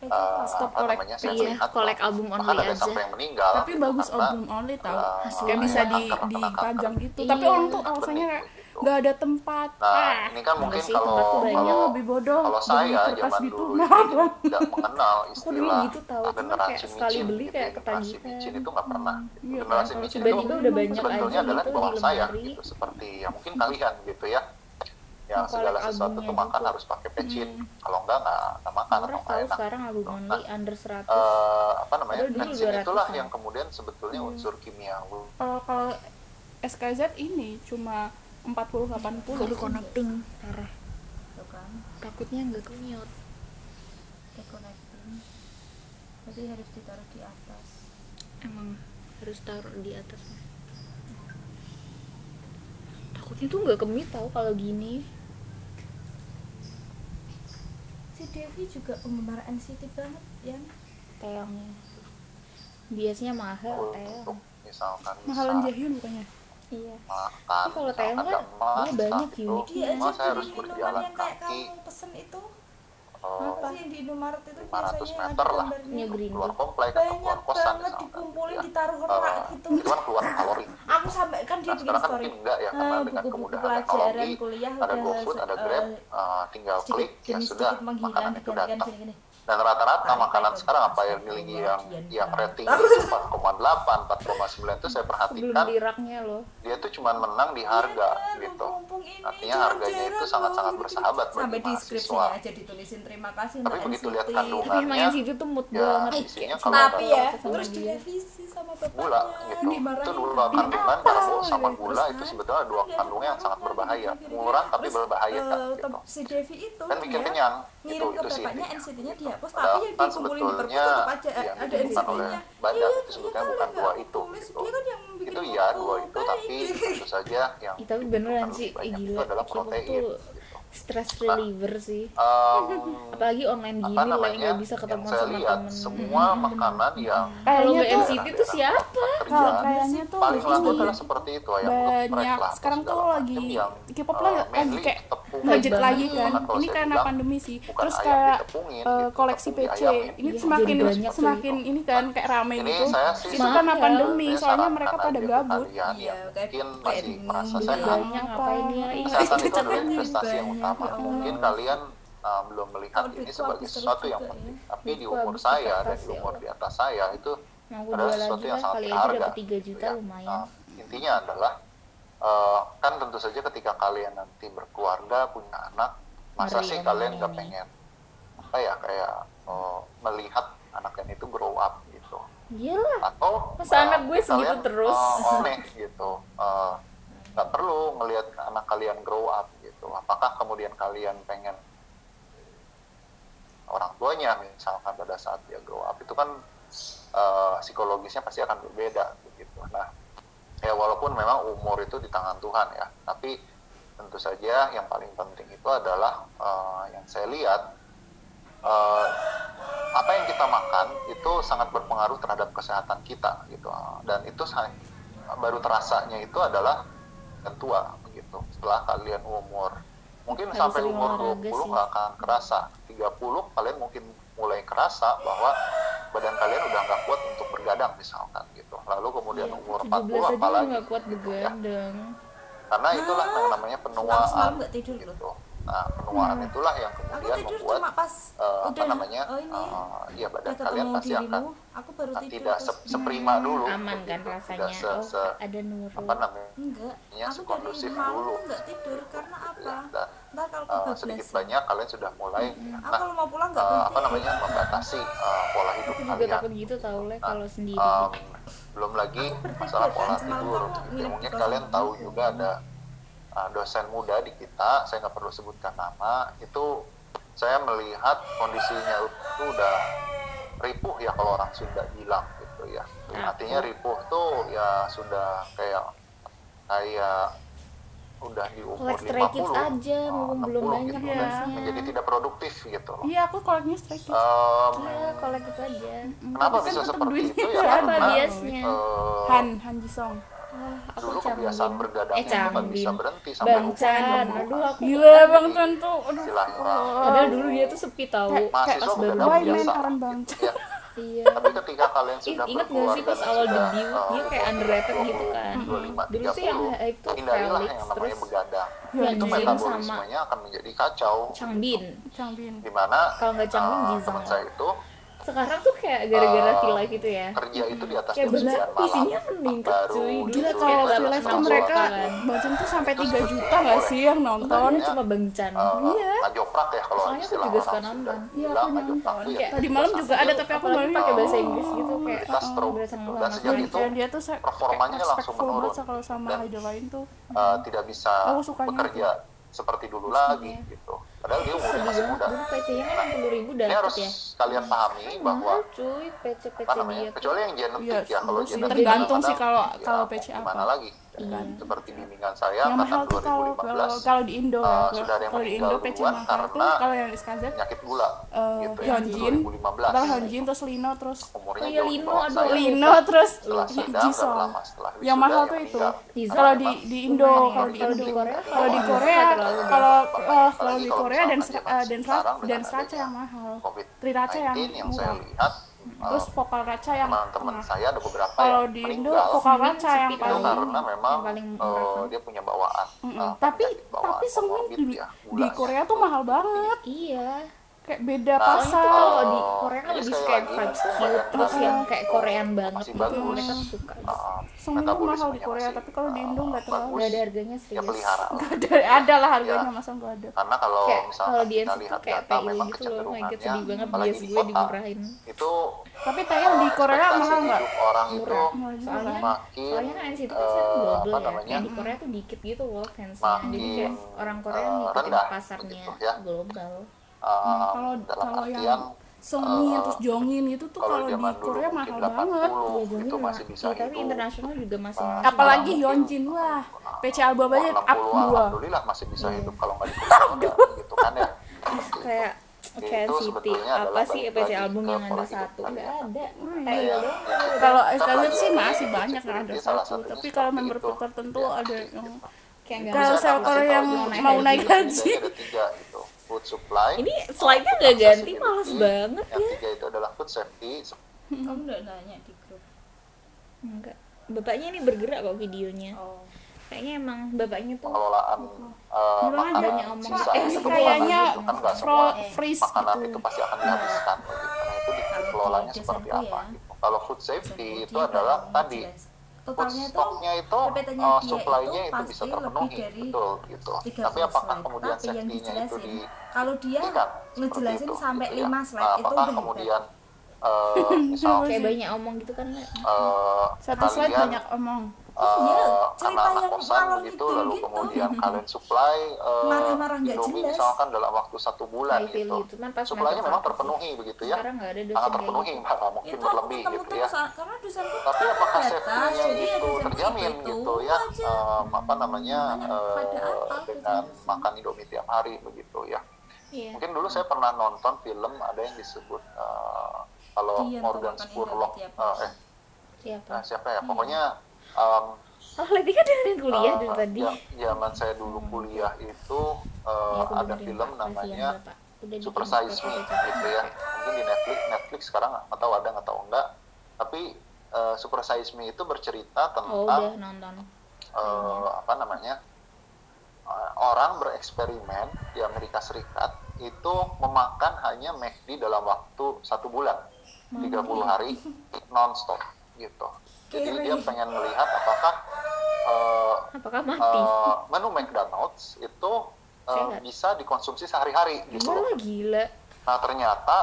A: eh,
G: stop
A: apa
G: collect
A: namanya saya
D: Iya,
A: melihat
D: collect ya.
A: bahwa
D: album
A: bahkan
D: only
A: ada
D: aja.
A: sampai yang meninggal.
G: tapi
A: gitu,
G: bagus
A: karena,
G: album only tau
A: eh,
G: yang bisa
A: kanker,
G: di
A: kanker,
G: dipajang gitu
D: Iya.
G: tapi orang tuh alasannya
A: Bening,
G: kayak
A: begitu.
G: nggak ada tempat Ah.
A: Nah, ini kan mungkin
D: sih,
A: kalau
D: tempatku banyak. Oh,
G: Kayaknya
A: kalau
G: lebih bodoh
A: kalau
G: beli
A: saya
G: kertas
A: zaman
G: gitu
A: dulu
G: nah
A: itu
G: Bang.
A: tidak mengenal istilah
D: dulu gitu tahu, cuma
A: generasi
D: kayak sekali
A: micin,
D: beli
A: gitu,
D: kayak
A: generasi
D: ketagihan.
A: micin itu nggak pernah gitu.
G: Iya,
A: generasi
G: kalau
A: micin itu
D: tiba-tiba udah banyak aja
A: sebetulnya adalah di
D: gitu
A: bawah
D: di
A: saya
D: lemari.
A: gitu seperti ya mungkin kalian gitu ya yang
D: Kalau
A: segala sesuatu
D: albumnya
A: tuh makan
D: gitu.
A: harus pakai pecin kalau enggak nggak nggak makan atau
D: murah
A: nggak
D: tahu
A: enak
D: sekarang album
A: Nah,
D: only under 100
A: Eh, apa namanya
D: Padahal dulu Hmm.
A: pensin
D: 200-an.
A: itulah yang kemudian sebetulnya unsur kimiawi
G: kalau kalau SKZ ini cuma 40
D: Baru
G: 80
D: connecting parah
H: Tuh kan,
D: takutnya nggak ke mute
H: kayak connecting. Jadi harus ditaruh di atas.
D: emang harus taruh di atas takutnya tuh nggak ke mute tau kalau gini
H: Si Devi juga penggemar NCT banget ya.
A: Hmm,
D: teongnya biasanya mahal
A: untuk
D: teong
A: misalkan
G: mahalan
A: bisa
G: Jaehyun bukannya
D: iya
A: makan
D: Tapi kalau
A: misalkan
D: Thailand kan
A: nggak masak,
D: dia banyak
A: gitu.
C: ya,
D: unik.
C: Dia aja
A: Masa harus
C: beli minuman
A: berjalan
C: yang kayak
A: kaki
C: kamu pesen itu.
A: eh,
C: Apa sih yang di Indomaret itu
A: 500
C: biasanya
A: meter
C: ada
A: lah
C: gambarnya.
D: Negeri. Green
A: keluar
D: Day.
A: komplek atau
C: Banyak
A: keluar kosan
C: banget
A: misalkan,
C: dikumpulin
A: ya.
C: ditaruh
A: Eh,
C: rak gitu.
A: itu kan keluar kalori
C: Aku sampai kan dia
A: nah
C: bikin
A: sekarang kan
C: story.
A: mungkin enggak ya karena
C: Eh,
A: dengan
C: buku-buku
A: kemudahan
C: pelajaran
A: teknologi
C: kuliah
A: ada
C: udah,
A: GoFood ada
C: eh,
A: Grab eh, tinggal
H: Sedikit
A: klik ya
H: demi
A: sudah
H: sedikit menghilang
A: makanan itu datang
H: gini-gini.
A: dan rata-rata
H: Sampai
A: makanan
H: ke
A: sekarang apa yang
H: pasar
A: miliki
H: keluar,
A: yang
H: kian
A: yang
H: berapa.
A: rating 4,8 4,9 itu saya
D: belum
A: perhatikan
D: di raknya loh
A: dia tuh cuma menang di harga
C: Iya,
A: gitu
C: mumpung ini
A: artinya harganya itu
C: jarang-jarang
A: sangat-sangat
C: loh,
A: bersahabat
H: Sampai
A: bagi
H: di
A: mahasiswa
H: skripsinya aja ditulisin terima kasih
A: tapi
H: untuk
A: begitu
H: NCT.
A: lihat
D: tapi emang
A: kandungannya
D: yang situ tuh mood
A: ya
D: banget
A: isinya
D: kayak
A: kalau
C: Tapi
A: nggak
C: ya,
D: sama
C: terus
D: dia.
C: direvisi sama bapaknya.
A: gula gitu itu dua kandungan karbo sama gula itu sebetulnya dua kandungan yang sangat berbahaya murah tapi berbahaya
C: Eh,
A: gitu
C: tem- si Devi itu
A: dan bikin
C: dia
A: kenyang itu
C: ngirim ke
A: itu sih
C: bapaknya
A: intinya.
C: NCT-nya
A: Gitu.
C: dihapus
A: Padahal
C: tapi yang
A: kan
C: dikumpulin di perpus
A: sebetulnya
C: tetap aja eh,
A: yang
C: ada
A: ditemukan oleh
C: NCT-nya
A: badan
C: Iya,
A: itu
C: iya
A: sebetulnya
C: kan,
A: bukan
C: nggak
A: dua
C: aku
A: itu
C: tulis.
A: gitu.
C: Dia kan yang bikin gitu.
A: itu ya
C: aku
A: dua itu
C: baik.
A: tapi ya, tentu saja yang
D: Ih, tapi
A: ditemukan
D: beneran
A: lebih
D: sih eh,
A: banyak itu
D: gila
A: adalah
D: K-pop
A: protein
D: tuh
A: gitu.
D: stress reliever sih
A: Em,
D: apalagi online
A: apa
D: gini loh yang
A: namanya,
D: nggak
A: ya.
D: bisa
A: yang
D: ketemu
A: saya
D: sama
A: lihat,
D: temen Iya,
A: semua makanan yang
D: kalau
G: kayaknya
D: nggak
G: tuh
D: NCT tuh siapa
G: kalau
A: kerjaan
G: Oh, kayaknya tuh
A: paling laku
G: ini
A: adalah seperti itu ayam
G: Iya, banyak sekarang tuh lagi
A: Iya.
G: K-pop
A: eh,
G: lah lagi kayak budget
D: banget
G: lagi kan ini karena pandemi sih terus
A: gitu,
G: kayak eh, koleksi PC ini semakin
D: Iya, jadi banyak tuh.
G: semakin ini kan kayak rame
A: Ini
G: gitu
A: saya sih
G: itu karena
D: Mahal.
G: pandemi soalnya mereka pada gabut
A: iya, mungkin masih merasa
D: Duit
A: sehat
D: banyak ngapain ya iya
A: kesehatan itu adalah investasi yang utama
G: Iya.
A: mungkin kalian uh, belum melihat
H: Kalau
A: ini
H: duitku
A: sebagai
H: habis
A: sesuatu
H: terus
A: yang
H: juga
A: penting tapi di
D: Duitku
A: umur
D: habis
A: saya dan
D: terbatas,
A: di
D: ya
A: umur di atas saya itu
D: Yang aku
A: adalah
D: jual
A: sesuatu yang
D: lagi lah
A: sangat
D: kali aja
A: berharga
D: dapat 3
A: gitu
D: juta
A: ya.
D: lumayan
A: Nah, intinya adalah eh, kan tentu saja ketika kalian nanti berkeluarga punya anak masa
D: Ngeri
A: sih
D: emang
A: kalian nggak
D: ini.
A: pengen apa ya kayak eh, melihat anaknya itu grow up gitu
D: iyalah
A: atau ya
D: Masa anak gue segitu
A: kalian,
D: terus?
A: oh, eh, aneh gitu Eh, nggak nggak perlu ngelihat anak kalian grow up gitu apakah kemudian kalian pengen orang tuanya misalkan pada saat dia grow up itu kan eh, psikologisnya pasti akan berbeda begitu nah ya walaupun memang umur itu di tangan Tuhan ya tapi tentu saja yang paling penting itu adalah eh, yang saya lihat eh, apa yang kita makan itu sangat berpengaruh terhadap kesehatan kita gitu dan itu sa- baru terasanya itu adalah yang tua begitu setelah kalian umur mungkin
D: Harus
A: sampai
D: sering
A: umur 20
D: olahraga sih.
A: nggak akan kerasa 30 kalian mungkin mulai kerasa bahwa badan kalian udah nggak kuat untuk bergadang misalkan gitu lalu kemudian umur 40
D: 17 aja lu
A: apalagi
D: nggak kuat
A: gitu ya.
D: begadang
A: karena itulah
H: Ah,
A: yang namanya penuaan
H: Semalam nggak tidur loh.
A: gitu nah penuaan itulah yang
H: Aku
A: kemudian
H: tidur
A: membuat
H: cuma pas
A: eh, apa
H: udah,
A: namanya
H: oh ini,
A: eh, ya
H: udah
A: badan kalian
H: ketemu
A: pasti akan
H: dirimu, aku baru
A: Ah,
H: tidur
A: tidak
H: terus.
A: se- seprima dulu
D: aman kan
A: begitu.
D: rasanya
A: tidak se,
D: oh
A: se-
D: ada nurul
A: apa namanya
H: Enggak,
A: Ya,
H: aku
A: sekondusif
H: dari malam
A: dulu.
H: nggak tidur karena apa?
A: ya, dan,
H: Ntar kalau
A: eh,
H: kebablasan.
A: sedikit banyak kalian sudah mulai
H: Aku
A: nah,
H: kalau mau pulang nggak
A: eh,
H: berhenti.
A: apa namanya membatasi eh, pola hidup
D: aku juga
A: kalian Nah,
D: takut gitu tau lah kalau sendiri
A: Em, belum lagi masalah pola tidur gitu. mungkin kalian tahu juga ada uh, dosen muda di kita saya nggak perlu sebutkan nama itu saya melihat kondisinya itu udah ripuh ya kalau orang Sunda bilang gitu ya artinya ripuh tuh ya sudah kayak kayak udah di umur
D: Like Stray Kids
A: 50
D: aja,
A: uh,
D: mumpung belum
A: 60
D: banyak ya.
A: gitu,
D: fansnya.
A: jadi tidak produktif gitu loh
B: Iya, aku koleknya
A: Eh,
B: strike kids.
A: Em,
D: ya kalau gitu aja
A: kenapa
B: Tapi
A: bisa
B: kan tetep
A: seperti
B: duitnya
A: itu ya
B: ada.
D: apa
A: karena
D: biasnya
A: eh,
B: Han, Han Jisong.
D: Ah, aku
A: dulu kebiasaan
D: canggung
A: bergadang
D: eh
A: itu nggak
D: canggung
A: bisa berhenti sampai
D: Bang
A: umur
D: Chan
A: 60-an.
D: aduh aku
B: Gila Bang Chan tuh. Aduh.
A: Silaturahmi.
D: padahal dulu dia tuh sepi tau
A: mahasiswa
D: pas baru
A: begadang
B: Why
D: debut.
B: men
A: biasa
B: aren't Bang
A: gitu ya.
D: iya
A: tapi ketika kalian
D: Ih,
A: sudah
D: ingat gak sih
A: berkeluarga
D: pas awal
A: sudah,
D: debut
A: eh,
D: dia kayak underrated gitu kan
A: 25,
D: dulu tuh yang
A: 30,
D: hype tuh
A: hindarilah
D: Felix
A: yang namanya
D: terus
A: begadang
D: yang
A: itu
D: Jin sama
A: metabolismenya akan menjadi kacau
D: Changbin
B: Changbin.
A: di mana
D: Kalau nggak canggung,
A: eh,
D: Jizang.
A: teman saya itu
D: sekarang tuh kayak gara-gara
A: Eh,
D: T-Life gitu ya
A: kerja itu di atas
D: kayak
A: jam
D: bener
A: 9 malam
D: visinya meningkat
A: Baru
D: cuy dulu
B: Gila
D: tuh
B: kalau
D: kayak
B: free live tuh
D: langsung
B: mereka
D: kan.
B: Bang Chan tuh sampai 3 juta gak sih yang nonton?
D: Nontonnya cuma bengcan
A: Eh,
B: Iya.
A: ngajoprak ya kalau
D: Soalnya aku
A: istilah
D: juga
A: orang
D: suka
A: Sunda
D: nonton.
B: Iya,
A: bilang
B: aku
A: ngajoprak tuh ya
D: Kayak
B: Tadi malam juga ada tapi aku
D: apalagi
B: baru
D: pakai bahasa
A: "Oh,
D: Inggris gitu kayak
A: kita stroke
D: berasa
A: gitu.
D: ngeluar
A: Dan
D: masuk.
A: sejak itu
B: Dan dia tuh saya
A: performanya
B: kayak
A: langsung
B: respectful banget
A: menurun.
B: sih kalau sama
A: Dan-
B: idol lain tuh.
A: eh, tidak bisa
B: Aku sukanya
A: bekerja seperti dulu lagi
B: ya.
A: gitu. Padahal dia umurnya
D: sedih
A: masih
D: banget
A: muda.
D: dulu PC-nya kan 60 ribu
A: Ini
D: dapet
A: harus
D: ya
A: kalian
B: Iya.
A: pahami bahwa
D: mahal cuy PC PC
A: apa
D: dia
A: namanya? Kecuali yang genetik
B: Iya,
A: ya kalau
B: sih.
A: genetik
B: Tergantung
A: kadang-kadang,
B: sih kalau-
A: ya,
B: kalau
A: mau
B: PC apa. Iya.
A: Gimana lagi? Kan, Seperti bimbingan saya
B: yang mahal
A: angkatan
B: tuh kalau kalau
A: 2015
B: kalau di Indo
A: Eh, sudah
B: ya.
A: ada yang
B: Kalau di
A: meninggal
B: Indo PC
A: duluan
B: mahal tuh
A: karena
B: kalau yang Iskandar
A: penyakit gula
B: eh,
A: gitu ya.
B: Hyunjin,
A: 2015.
B: terus Hyunjin terus Lino terus
A: gitu. Umurnya
D: Oh, iya,
A: jauh di
D: Lino,
A: bawah
D: aduh,
A: saya.
B: Lino terus
A: Setelah sidang berapa
B: Jisoo.
A: lama setelah
B: Yang
A: wisuda,
B: mahal
A: yang
B: tuh itu.
A: meninggal.
D: Teaser.
B: Kalau
A: Karena
B: di
A: memang
B: di Indo,
D: lumayan ya.
B: kalau di
D: Kalau
B: Indo.
D: di Korea,
B: Kalau di
D: kalau di
B: Korea,
D: Korea
A: Oh, iya,
B: kalau
A: terlalu
B: eh,
A: mahal.
B: kalau
A: Apalagi
B: di
A: kalau
B: Korea dan
A: misalkan zaman sekarang
B: dan
A: dengan
B: dan raca
A: adanya
B: yang mahal. Tri raca
A: COVID-19
B: yang
A: yang saya
B: murah.
A: lihat
B: Terus
A: eh,
B: vokal raca yang
A: teman-teman
B: mahal.
A: saya ada beberapa
B: Kalau
A: yang
B: di Indo
A: meninggal
B: vokal raca yang
A: itu
B: paling kan?
A: karena memang
D: yang paling
A: eh,
D: murah.
A: dia punya bawaan
B: Mm-mm.
A: eh,
B: tapi
A: penyakit bawaan
B: tapi semen
A: komorbid
B: di,
A: ya,
B: di
A: gulanya.
B: Korea tuh mahal banget
D: iya
B: kayak beda
A: Nah,
D: soalnya tuh
B: pasar
D: kalau di
A: Oh,
D: Korea kan
A: jadi
D: lebih
A: sekali
D: kayak
A: lagi, mungkin
D: vibes cute
A: badan
D: terus
A: kalian
D: yang kayak
A: itu
D: Korean banget
A: masih
D: gitu
A: bagus.
D: mereka tuh suka
A: Eh,
B: semen tuh mahal di
A: metabolismenya
B: Korea
A: masih,
B: tapi kalau di Indo nggak
A: eh,
B: terlalu
D: nggak ada harganya
A: ya
D: serius
A: pelihara
B: ada ada lah
A: Iya.
B: harganya masa nggak ada
A: karena kalau
D: kayak
A: misalkan
D: kalau di
A: kita
D: NCT
A: lihat
D: kayak
A: data
D: PI
A: memang
D: gitu loh my god
A: kecenderungannya,
D: sedih banget
A: apalagi
D: bias
A: di
D: gue
A: kota,
D: dimurahin
A: itu
B: tapi tayang di
A: eh,
B: Korea
A: ekspektasi
B: mahal nggak
A: hidup orang itu
D: Murah.
B: Soalnya-
D: soalnya
A: makin
D: soalnya kan NCT kan
A: eh,
D: sekarang global
A: apa
D: ya
A: namanya,
D: kayak di Korea tuh dikit gitu loh fansnya jadi
A: makin,
D: kayak orang Korea
A: eh,
D: ngikutin
A: rendah
D: pasarnya
A: gitu ya.
D: global
A: eh,
B: Hmm, kalau
A: dalam
B: kalau
A: artian
B: yang Songmin terus Jongin itu tuh kalau
A: eh,
B: di
A: zaman dulu
B: Korea
A: mungkin
B: mahal banget
A: 80,
D: Jonghyun
A: itu
D: mah-
A: gitu masih bisa
B: Iya,
D: ya, Iya, tapi
A: hidup.
D: internasional juga masih
A: Nah,
D: mahal.
B: apalagi
A: mungkin,
B: Hyunjin lah PC album
A: Umur
B: aja Iya.
A: 60
B: up 2
A: alhamdulillah masih bisa hidup kalau nggak di corona, gitu kan ya
D: kayak kayak
A: Itu
D: City
A: sebetulnya
D: apa
A: adalah
D: sih
A: balik
D: EPC
A: lagi
D: album
A: ke
D: yang ada
A: pola hidup
D: satu
A: kalian.
D: nggak ada
A: Kayak-
D: Taylor doang
A: kayak kita
B: kalau
A: tetap
B: Scarlet
A: lagi
B: sih
A: ada
B: masih
A: yang
B: banyak yang ada
A: security, gitu. salah
B: satu
A: satunya
B: tapi kalau
A: seperti
B: member
A: itu.
B: tertentu
A: Ya,
B: ada
A: gitu.
B: yang
D: kayak nggak
B: Kalau
D: masuk
B: saya
D: akal
B: kalau
D: sih
B: yang
D: kalau
B: mau
D: gaji.
B: naik gaji.
A: Jadi ada tiga itu food supply
D: ini slide-nya nggak ganti males banget
A: yang tiga itu adalah food safety
H: Kamu nggak nanya di grup.
D: enggak bapaknya ini bergerak kok videonya
H: Oh.
D: kayaknya emang bapaknya tuh
A: pengelolaan eh,
B: Bilang aja,
A: makanan
D: banyak omong.
A: sisa
B: Eh,
A: itu
B: kayaknya
A: bukan- bukan nggak semua
B: fro freeze
A: makanan
B: gitu
A: itu pasti akan dihabiskan gitu. Nah itu
H: Kalau
A: dikelolanya seperti
H: di desa itu
A: apa
H: ya.
A: gitu. Kalau food safety
H: Jadi
A: itu adalah
H: kalau
A: tadi
H: jelas.
A: food
H: Totalnya tuh
A: stoknya itu
H: PPT-nya
A: eh,
H: dia
A: supply-nya
H: itu
A: itu bisa
H: pasti
A: terpenuhi
H: lebih dari
A: betul gitu.
H: 30
A: Tapi apakah
H: slide.
A: kemudian
H: Tapi yang
A: safety-nya itu
H: dijelasin,
A: di
H: Kalau dia
A: Iya,
H: ngejelasin
A: seperti itu,
H: sampai
A: gitu ya.
H: 5 slide
A: Nah,
H: itu
A: apakah
H: udah
A: kemudian eh, misal
D: kayak banyak omong gitu kan Le?
A: eh,
B: satu slide
A: kalian,
B: banyak omong
A: eh, eh,
C: cerita
A: anak-anak
C: yang
A: kosan
C: malam
A: begitu
C: itu
A: lalu
C: Iya, gitu.
A: kemudian kalian supply eh,
C: Marah-marah nggak
A: Indomie
C: jelas.
A: misalkan dalam waktu satu bulan
D: Kayak
A: gitu.
D: gitu. Cuman pas
A: Supply-nya
D: mepet
A: memang
D: satu sih.
A: terpenuhi begitu ya.
D: Sekarang nggak ada dosen
A: Sangat
D: kayak gitu.
A: terpenuhi malah mungkin
C: itu aku
A: berlebih
C: ketemu
A: gitu ya.
C: dosen karena dosenku
A: Tapi apakah
C: terbatas,
A: safety-nya
C: jadi ya
A: itu
C: dosenku
A: terjamin
C: itu
A: gitu ya?
C: aja.
A: Eh, apa namanya eh,
C: pada apa gitu
A: dengan makan Indomie tiap hari begitu ya.
D: Iya.
A: Mungkin dulu saya pernah nonton film ada yang disebut eh, kalau
H: Iya,
A: Morgan
H: makan
A: Spurlock
H: Indomie tiap
A: eh, eh,
D: Siapa?
A: nah, siapa ya? Pokoknya em, Nah.
D: Oh, Lady kan dengerin kuliah dari
A: eh,
D: tadi.
A: ja- zaman saya dulu kuliah itu eh,
D: Iya, aku
A: ada
D: dengerin.
A: film
D: Kasihan
A: namanya
D: Bapak. Udah
A: Super
D: bikin
A: Size Me
D: foto-foto.
A: gitu ya mungkin di Netflix Netflix sekarang nggak tahu ada nggak tahu enggak tapi eh, Super Size Me itu bercerita
D: Oh, udah
A: tentang
D: nonton.
A: eh, apa namanya eh, orang bereksperimen di Amerika Serikat itu memakan hanya McD dalam waktu satu bulan 30 hari nonstop gitu jadi dia pengen melihat apakah eh,
D: Apakah mati?
A: eh, menu McDonald's itu eh,
D: Sehat.
A: bisa dikonsumsi sehari-hari gitu
D: Gila
A: loh.
D: gila.
A: Nah ternyata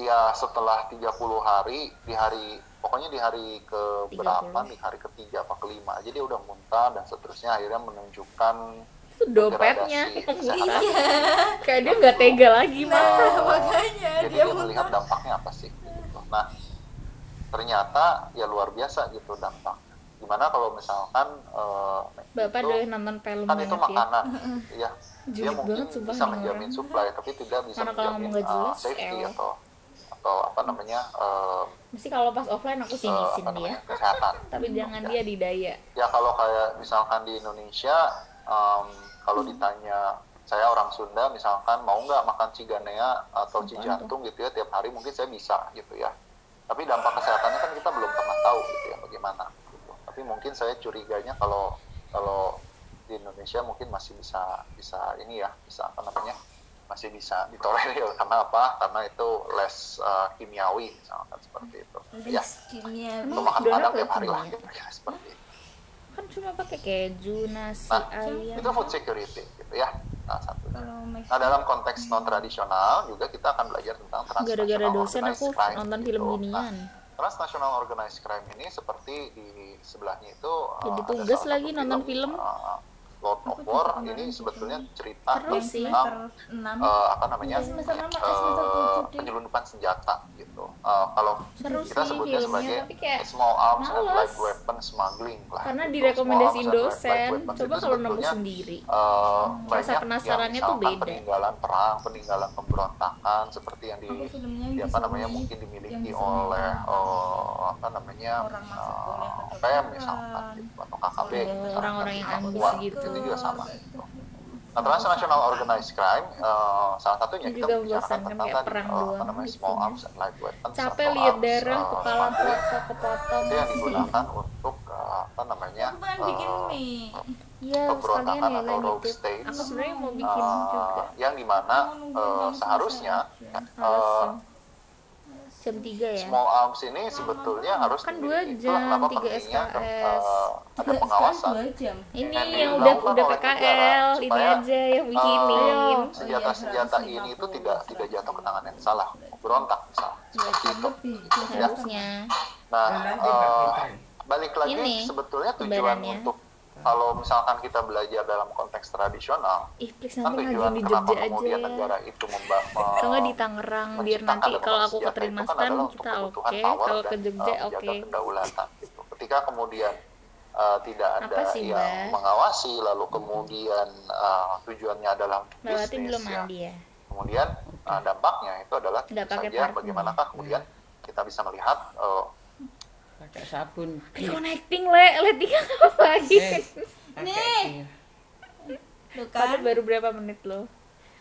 A: ya setelah 30 hari di hari pokoknya di hari ke berapa
D: 30.
A: di hari ketiga apa kelima aja dia udah muntah dan seterusnya akhirnya menunjukkan
D: Itu dompetnya. Iya,
A: degradasi kesehatan.
D: Kayak dia nggak tega lagi mah.
A: Nah,
C: makanya
A: jadi
C: dia
A: dia melihat dampaknya apa sih gitu. Nah ternyata ya luar biasa gitu dampak. Gimana kalau misalkan eh,
D: Bapak
A: itu-
D: doyan nonton film
A: kan itu
D: banget ya.
A: makanan ya dia
D: Julid
A: mungkin
D: banget, sumpah,
A: bisa
D: nih
A: menjamin
D: orang.
A: supply tapi tidak bisa
D: Karena kalau
A: menjamin
D: ngomong nggak
A: uh,
D: jelas,
A: safety
D: elah.
A: atau atau apa namanya uh,
D: Mesti kalau pas offline aku
A: uh,
D: sinisin
A: apa
D: dia.
A: namanya kesehatan
D: Tapi jangan
A: ya.
D: dia didaya.
A: ya kalau kayak misalkan di Indonesia um, kalau ditanya saya orang Sunda misalkan mau nggak makan ciganea atau
D: Apaan
A: cijantung gitu ya tiap hari mungkin saya bisa gitu ya tapi dampak kesehatannya kan kita belum pernah tahu gitu ya bagaimana gitu. tapi mungkin saya curiganya kalau kalau di Indonesia mungkin masih bisa bisa ini ya bisa apa namanya masih bisa ditolerir karena apa karena itu les uh, kimiawi misalkan seperti itu ya
H: Kimia.
A: untuk makan
D: Donat
A: padang tiap
D: les
A: hari lah
D: kimiawi.
A: gitu ya seperti itu
D: Kan cuma pakai keju, nasi,
A: Nah,
D: ayam.
A: itu food security gitu ya salah satu
H: Kalau Max
A: nah dalam konteks non tradisional juga kita akan belajar tentang transnational
D: Gara-gara dosen aku
A: organized crime
D: nonton
A: gitu.
D: film
A: Nah,
D: ginian.
A: transnational organized crime ini seperti di sebelahnya itu uh,
D: Jadi
A: ada
D: tugas
A: salah
D: lagi
A: satu
D: nonton film.
A: uh, Lord of War ini sebetulnya cerita
D: Seru sih.
A: tentang
H: enam.
A: eh, apa namanya
H: Semester enam, eh, semester
A: eh,
H: tujuh deh.
A: penyelundupan senjata gitu Eh, kalau
D: Seru
A: kita
D: sih
A: sebutnya
D: filmnya,
A: sebagai
D: tapi kayak
A: small arms and
D: males.
A: light weapon smuggling lah
D: Karena
A: gitu. Small arms
D: direkomendasiin
A: and light- light
D: dosen.
A: weapens
D: Coba
A: itu
D: kalau nemu
A: sebetulnya
D: sendiri.
A: eh
D: Rasa
A: banyak
D: penasarannya
A: yang
D: tuh
A: misalkan
D: beda.
A: peninggalan perang, peninggalan pemberontakan seperti yang di,
H: Apa filmnya
A: di
H: yang
A: apa
H: bisa
A: namanya
H: beli,
A: mungkin dimiliki
H: yang bisa
A: oleh
H: beli.
A: eh, apa namanya
H: Orang masuk kuliah
A: eh,
H: kedokteran.
A: PM misalkan gitu, atau KKB
D: Oleh
A: gitu,
D: Iya, orang-orang yang
A: misalkan,
D: ambis
A: Papua,
D: gitu.
A: itu juga sama gitu. Nah, transnational organized crime eh, salah satunya
D: Itu
A: kita
D: juga
A: membicarakan
D: membosankan,
A: tentang
D: kayak
A: tadi
D: perang
A: eh, apa
D: doang
A: namanya
D: gitu.
A: small arms and light weapons
D: Capek
A: atau
D: lihat
A: arms,
D: darah,
A: eh,
D: kepala
A: smuggling,
D: potong, kepotong.
A: itu yang digunakan untuk eh, apa namanya
H: Aku pengen bikin
A: eh,
H: mie.
D: Iya, sekalian
A: pemberontakan
D: ya
A: atau
D: lagi
A: rogue
D: tuh.
A: states
D: Aku sebenarnya mau
A: eh,
D: bikin juga. Oh,
A: yang dimana
H: Aku mau
A: eh,
H: nungguin kamu
A: seharusnya eh,
D: Males ya. Jam 3 ya.
A: small arms ini sebetulnya harus
D: Kan
A: dimiliki.
D: dua jam,
A: Itulah kenapa
D: tiga
A: pentingnya,
D: SKS.
A: eh, ada
H: Enggak,
A: pengawasan
H: sekarang dua jam.
D: Ini
A: yang
D: yang udah
A: dilakukan
D: udah
A: oleh
D: PKL,
A: negara
D: ini
A: supaya,
D: aja yang
H: Oh,
D: bikinin.
H: iya,
A: senjata-senjata ini itu
H: 150,
A: tidak tidak
D: ya.
A: jatuh ke tangan yang salah berontak misalnya
H: Dua
A: seperti
H: jam
A: itu
H: lebih.
A: Iya.
D: Harusnya.
A: nah eh, balik lagi
D: Ini,
A: sebetulnya tujuan
D: lebarannya.
A: untuk kalau misalkan kita belajar dalam konteks tradisional
D: Ih, please
A: kan
D: nanti
A: tujuan
D: ngajuin di
A: kenapa
D: Jogja aja
A: kemudian
D: ya.
A: negara itu membangun
D: Kalau nggak di Tangerang, biar nanti kalau
A: ya,
D: aku
A: kan
D: ke Trimstan kita oke, kalau ke Jogja oke.
A: eh, kedaulatan gitu. Ketika kemudian eh, tidak
D: Apa
A: ada
D: sih,
A: yang
D: Mbak?
A: mengawasi lalu kemudian eh, tujuannya adalah untuk
D: Melewati
A: bisnis
D: belum
A: ya.
D: mandi ya.
A: Kemudian eh, dampaknya itu adalah tentu
D: Nggak pakai
A: saja
D: parfum. Hmm.
A: bagaimanakah kemudian kita bisa melihat eh,
I: pakai sabun
D: Reconnecting le, le tiga ngapain?
I: Eh, pakai
H: Tuh kan?
D: Padahal baru berapa menit loh.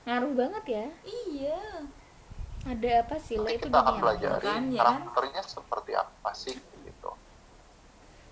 D: Ngaruh banget ya.
H: Iya.
D: Ada apa sih le
A: nanti
D: itu
A: Nah, kita akan
D: dunia?
A: pelajari
H: kan, ya kan?
A: karakternya seperti apa sih gitu.